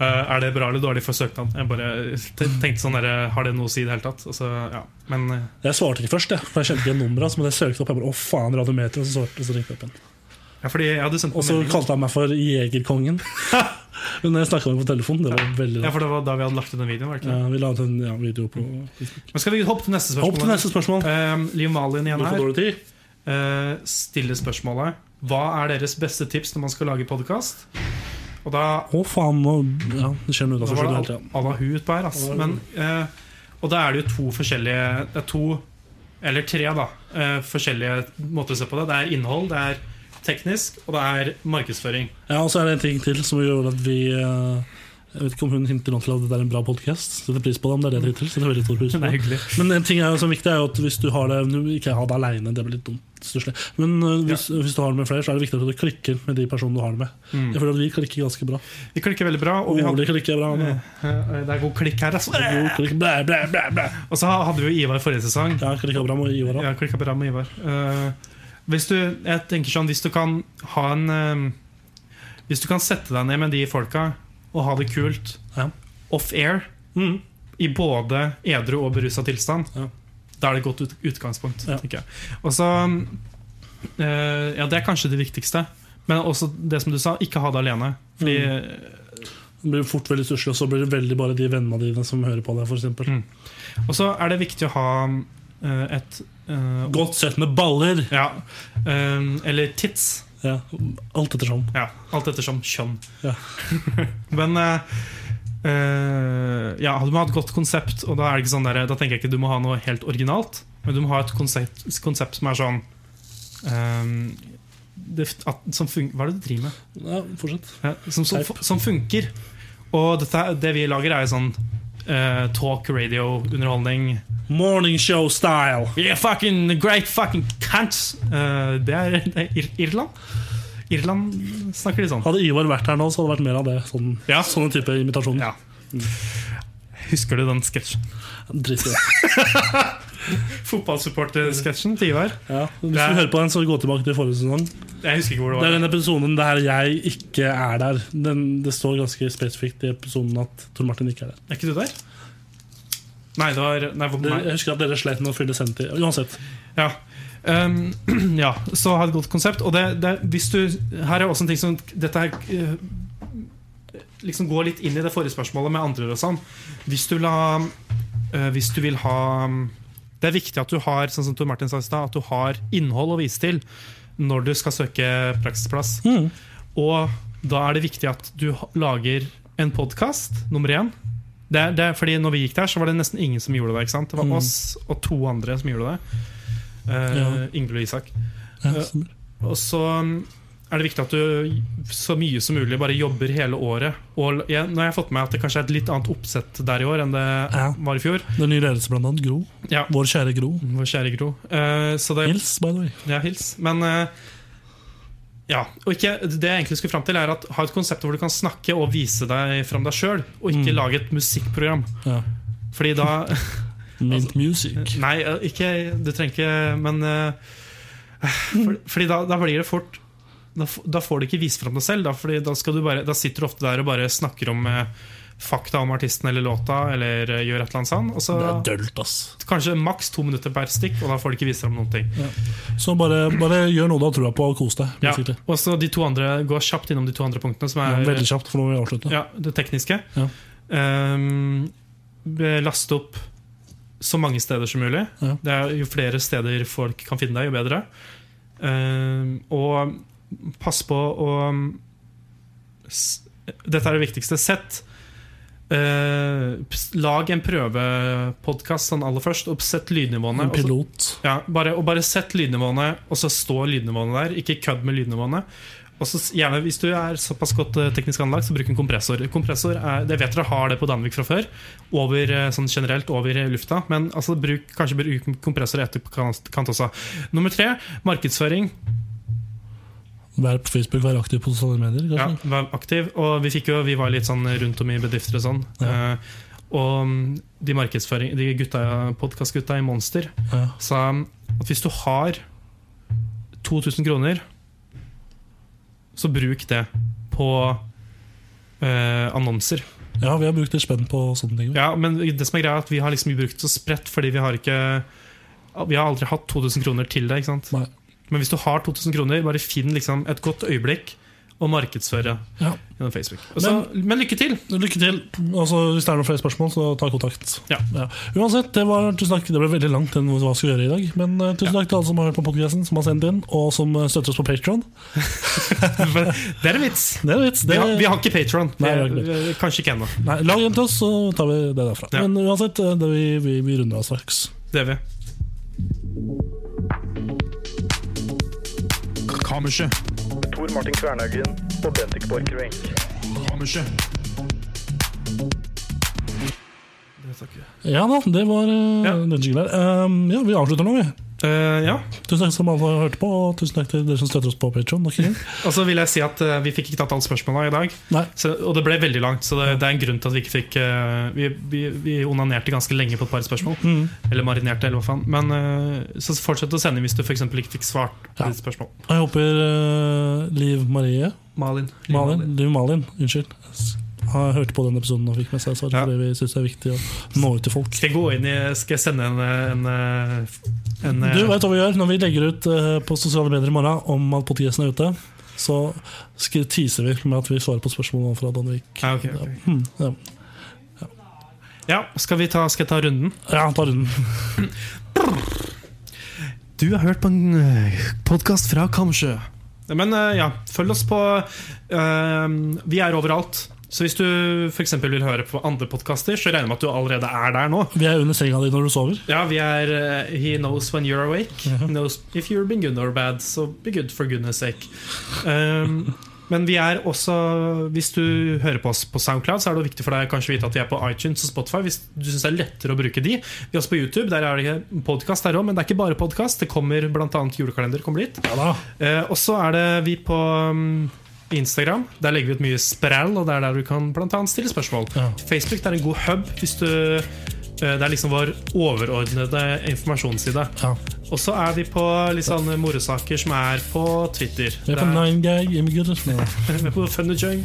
Speaker 3: eh, Er det bra eller dårlig for søknaden? Jeg bare te- tenkte sånn der, Har det noe å si i det hele tatt? Og så, ja. Men eh,
Speaker 2: Jeg svarte ikke først, jeg, for jeg kjente ikke nummeret. Så måtte jeg søke det opp. Jeg bare, å faen, Radio Metro, og så, svarte, og så ringte jeg opp igjen.
Speaker 3: ja, fordi jeg hadde sendt
Speaker 2: Og så
Speaker 3: melding.
Speaker 2: kalte han meg for Jegerkongen. Men når jeg snakka med ham på telefonen, det var veldig
Speaker 3: Ja,
Speaker 2: rart.
Speaker 3: for det var da vi hadde lagt ut den videoen. var det ikke?
Speaker 2: Ja, vi la ut en ja, video på
Speaker 3: Mm.
Speaker 2: Facebook.
Speaker 3: Men skal vi hoppe til neste spørsmål?
Speaker 2: Opp til neste spørsmål.
Speaker 3: Eh, Liv Malin
Speaker 2: Du
Speaker 3: igjen
Speaker 2: får
Speaker 3: her.
Speaker 2: dårlig tid.
Speaker 3: Eh, stille spørsmålet Hva er deres beste tips når man skal lage podkast? Og da
Speaker 2: Å, faen. Nå, ja, det skjer noe
Speaker 3: Da
Speaker 2: utenfor. skjønner
Speaker 3: var
Speaker 2: du helt,
Speaker 3: det
Speaker 2: ja.
Speaker 3: Anna Hu utpå her. Ass. Men, eh, og da er det jo to forskjellige Det er to, eller tre, da, eh, forskjellige måter å se på det. Det er innhold, det er teknisk, og det er markedsføring.
Speaker 2: ja, Og så er det en ting til som gjør at vi eh, Jeg vet ikke om hun hinter nå til at det er en bra podkast. Setter pris på det, om det er det hun hinter til. Setter veldig stor pris på det.
Speaker 3: hyggelig.
Speaker 2: Men en ting er jo som viktig er jo at hvis du har det du Ikke ha det aleine, det blir litt dumt. stusslig. Men eh, hvis, hvis du har det med flere, så er det viktig at du klikker med de personene du har det med. Jeg føler at vi klikker ganske bra.
Speaker 3: Vi klikker veldig bra. Og Mm. vi hadde,
Speaker 2: Ole klikker bra. men-
Speaker 3: eh, det er god klikk her, ass.
Speaker 2: Jo, klikker, blæ, blæ, blæ, blæ.
Speaker 3: Og så hadde vi jo Ivar forrige sesong.
Speaker 2: Ja, klikker bra med Ivar òg.
Speaker 3: Ja, klikka bra med Ivar. Eh, hvis du, jeg tenker sånn, hvis du kan ha en eh, Hvis du kan sette deg ned med de folka og ha det kult
Speaker 2: Ja.
Speaker 3: off-air,
Speaker 2: Mm.
Speaker 3: i både edru og berusa tilstand,
Speaker 2: Ja.
Speaker 3: da er det et godt ut, utgangspunkt.
Speaker 2: Ja.
Speaker 3: tenker jeg. Og så eh, Ja, det er kanskje det viktigste. Men også det som du sa, ikke ha det alene. Fordi
Speaker 2: Mm. Det blir fort veldig stusslig, og så blir det veldig bare de vennene dine som hører på deg, f.eks.
Speaker 3: Mm. Og så er det viktig å ha eh, et eh,
Speaker 2: Godt sett med baller!
Speaker 3: Ja. eh, eller tits.
Speaker 2: Ja, alt ettersom.
Speaker 3: Ja, alt ettersom kjønn.
Speaker 2: Ja.
Speaker 3: Men eh, Eh, ja, du må ha et godt konsept, og da, er det ikke sånn der, da tenker jeg ikke du må ha noe helt originalt. Men du må ha et konsept, konsept som er sånn ehm, det, at, som fun Hva er det du driver med?
Speaker 2: Ja, fortsett.
Speaker 3: Ja, som, som,
Speaker 2: Teip.
Speaker 3: som funker. Og dette, er- det vi lager, er jo sånn eh, talk, radio, underholdning.
Speaker 2: Morning show style.
Speaker 3: Yeah, fucking great fucking cunts! Eh, det er det er Ir Irland. Irland snakker de sånn.
Speaker 2: Hadde Ivar vært her nå, så hadde det vært mer av det. Sånn,
Speaker 3: Ja.
Speaker 2: Sånne type imitasjoner.
Speaker 3: Ja. Husker du den sketsjen?
Speaker 2: Drit i det.
Speaker 3: Fotballsupporter-sketsjen til Ivar?
Speaker 2: Ja. Hvis
Speaker 3: Det er-
Speaker 2: du hører på den, så gå tilbake til forrige sesong.
Speaker 3: Jeg husker ikke hvor det
Speaker 2: Det
Speaker 3: var.
Speaker 2: er den episoden der jeg ikke er der. Den, det står ganske spesifikt i episoden at Tor Martin ikke er der.
Speaker 3: Er ikke du der? Nei, det var Nei. hvor-
Speaker 2: Dere,
Speaker 3: nei.
Speaker 2: jeg husker at dere slet med å fylle sendetid. Uansett.
Speaker 3: Ja. Um, ja, så ha et godt konsept. Og det, det, hvis du Her er også en ting som Dette her eh, liksom går litt inn i det forrige spørsmålet med andre og sånn. Hvis du, vil ha, eh, hvis du vil ha Det er viktig at du har Sånn som Tor Martin sa i stad, at du har innhold å vise til når du skal søke praksisplass.
Speaker 2: Mm.
Speaker 3: Og da er det viktig at du ha- lager en podkast, nummer én. Det, er- det, er fordi når vi gikk der, så var det nesten ingen som gjorde det. ikke sant? Det var
Speaker 2: Mm.
Speaker 3: oss og to andre som gjorde det. Eh,
Speaker 2: Ja.
Speaker 3: Ingeborg Isak.
Speaker 2: Ja,
Speaker 3: Ja. Og så um, er det viktig at du så mye som mulig bare jobber hele året. Og l- jeg, nå har jeg fått med meg at det kanskje er et litt annet oppsett der i år enn det
Speaker 2: Ja.
Speaker 3: var i fjor.
Speaker 2: Den nye ledelse, blant annet. Gro.
Speaker 3: Ja,
Speaker 2: Vår kjære Gro.
Speaker 3: vår kjære Gro. Eh, så det,
Speaker 2: Hils, by the way.
Speaker 3: ja, hils. Men eh, ja, og ikke, Det jeg egentlig skulle fram til, er at ha et konsept hvor du kan snakke og vise deg fram deg sjøl, og ikke
Speaker 2: Mm.
Speaker 3: lage et musikkprogram.
Speaker 2: Ja.
Speaker 3: Fordi da
Speaker 2: Mint
Speaker 3: Altså-
Speaker 2: music.
Speaker 3: Nei, eh, ikke Du trenger ikke Men eh, for, Fordi da, da blir det fort da, f- da får du ikke vise fram deg selv. Da, fordi da, skal du bare, da sitter du ofte der og bare snakker om eh, fakta om artisten eller låta, eller eh, gjør et eller annet sånn. Og så
Speaker 2: Det er dølt, ass.
Speaker 3: kanskje maks to minutter per stikk, og da får du ikke vise fram noen ting.
Speaker 2: Så bare, bare gjør noe du har trua på, og kos deg.
Speaker 3: Ja.
Speaker 2: basically.
Speaker 3: Og så de to andre går kjapt innom de to andre punktene, som
Speaker 2: Ja,
Speaker 3: er
Speaker 2: veldig kjapt, for nå må vi avslutte.
Speaker 3: ja, det tekniske.
Speaker 2: Ja.
Speaker 3: Ehm, be- laste opp så mange steder som mulig.
Speaker 2: Ja.
Speaker 3: Det er Jo flere steder folk kan finne deg, jo bedre. Ehm, og pass på å s- Dette er det viktigste. Sett eh, ps- Lag en prøvepodkast sånn aller først, og sett lydnivåene.
Speaker 2: En
Speaker 3: og så-
Speaker 2: pilot.
Speaker 3: ja, bare, og bare sett lydnivåene, og så stå lydnivåene der. Ikke kødd med lydnivåene. Og så s- gjerne, Hvis du er såpass godt eh, teknisk anlagt, så bruk en kompressor. Kompressor er, det vet dere har det på Danvik fra før, over, eh, sånn generelt over eh, lufta. Men altså, bruk, kanskje bruk kompressor i etterkant kant også. Nummer tre, markedsføring.
Speaker 2: Vær på Facebook, vær aktiv på sosiale medier.
Speaker 3: Ja,
Speaker 2: kanskje.
Speaker 3: vær aktiv. Og vi, fikk jo, vi var litt sånn rundt om i bedrifter og sånn.
Speaker 2: Ja.
Speaker 3: Eh, og mm, de, markedsføring- de gutta- podcastgutta i Monster
Speaker 2: Ja.
Speaker 3: sa um, at hvis du har 2000 kroner, så bruk det på eh, annonser.
Speaker 2: Ja, vi har brukt litt spenn på sånne ting.
Speaker 3: Ja, men det som er greia er at vi har liksom brukt så spredt, fordi vi har ikke Vi har aldri hatt 2000 kroner til det. ikke sant?
Speaker 2: Nei.
Speaker 3: Men hvis du har 2000 kroner, bare finn liksom et godt øyeblikk og markedsføre
Speaker 2: Ja.
Speaker 3: gjennom Facebook. Og så- men, lykke til!
Speaker 2: Lykke til. Altså, hvis det er noen flere spørsmål, så ta kontakt.
Speaker 3: Ja.
Speaker 2: Uansett, det, var, tusen takk, det ble veldig langt enn hva vi skulle gjøre i dag. Men eh, tusen takk til alle som har hørt på podkasten, som har sendt inn, og som eh, støtter oss på Patron.
Speaker 3: Det er en vits!
Speaker 2: Det er en vits.
Speaker 3: Vi
Speaker 2: Det,
Speaker 3: har, vi har ikke Patron.
Speaker 2: Nei, vi har ikke
Speaker 3: Kanskje ikke ennå.
Speaker 2: Nei, lag en til oss, så tar vi det derfra.
Speaker 3: Ja.
Speaker 2: Men uansett, eh, det, vi, vi, vi runder av straks.
Speaker 3: Det er vi.
Speaker 1: Kammerset.
Speaker 7: Tor Martin Kvernhaugen og Bendik Borchgrevink.
Speaker 1: Kammerset.
Speaker 2: Ja da, det var eh,
Speaker 3: Ja.
Speaker 2: den jinglen her. Um, ja, vi avslutter nå, vi.
Speaker 3: Eh, ja.
Speaker 2: Tusen takk som alle har hørt på, og tusen takk til dere som støtter oss på Patron.
Speaker 3: Og så vil jeg si at eh, Vi fikk ikke tatt alle spørsmålene i dag.
Speaker 2: Nei,
Speaker 3: Så, og det ble veldig langt, så det, det er en grunn til at vi ikke fikk eh, vi, vi, vi onanerte ganske lenge på et par spørsmål.
Speaker 2: Mm.
Speaker 3: Eller marinerte, eller hva faen. Men eh, så fortsett å sende hvis du for eksempel ikke fikk svart på
Speaker 2: Ja.
Speaker 3: ditt spørsmål.
Speaker 2: Jeg håper eh, Liv Marie
Speaker 3: Malin.
Speaker 2: Malin, Liv Malin, unnskyld. Har hørt på den episoden og fikk med seg svar.
Speaker 3: Ja.
Speaker 2: Fordi vi synes det er viktig å nå ut til folk.
Speaker 3: Skal jeg gå inn i Skal jeg sende en, eh, en, eh, en eh,
Speaker 2: Du vet hva vi gjør når vi legger ut eh, på sosiale medier i morgen om at podkasten er ute. Så sk- teaser vi med at vi svarer på spørsmål fra Danvik.
Speaker 3: ja, Ah, ok, ok.
Speaker 2: Hmm, ja.
Speaker 3: ja, skal, vi ta, skal jeg ta runden?
Speaker 2: ja, ta runden.
Speaker 3: Du har hørt på en podkast fra Kamsjø. Men eh, ja, følg oss på eh, Vi er overalt. Så hvis du for eksempel vil høre på andre podkaster, så regner jeg med at du allerede er der nå.
Speaker 2: Vi er under senga di når du sover.
Speaker 3: Ja, vi er eh, He knows when you're awake. Knows if you've been good or bad, so be good for goodness sake. Um, men vi er også hvis du hører på oss på Soundcloud, så er det viktig for deg kanskje å vite at vi er på iTunes og Spotify. Hvis du syns det er lettere å bruke de. Vi er også på YouTube. Der er det podkast, der òg, men det er ikke bare podkast. Det kommer bl.a. julekalender. kommer dit
Speaker 2: Ja da.
Speaker 3: Eh, og så er det vi på um, Instagram. Der legger vi ut mye sprell, og det er der du kan blant annet stille spørsmål.
Speaker 2: Ja.
Speaker 3: Facebook det er en god hub. Hvis du, eh, det er liksom vår overordnede informasjonsside.
Speaker 2: Ja.
Speaker 3: Og så er vi på litt sånn morosaker som er på Twitter.
Speaker 2: Vi er på
Speaker 3: Der-
Speaker 2: Nine Gag, Immigrant
Speaker 3: vi er på Funnaging.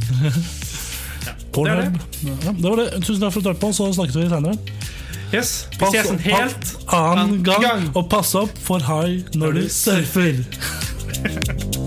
Speaker 2: Pornhub. Ja, det var det. Tusen takk for at du hørte på, så snakkes vi senere.
Speaker 3: Yes. Vi
Speaker 2: Pass-
Speaker 3: ses en sånn helt
Speaker 2: Annen
Speaker 3: Annen
Speaker 2: gang.
Speaker 3: gang.
Speaker 2: Og pass opp for hai når du surfer.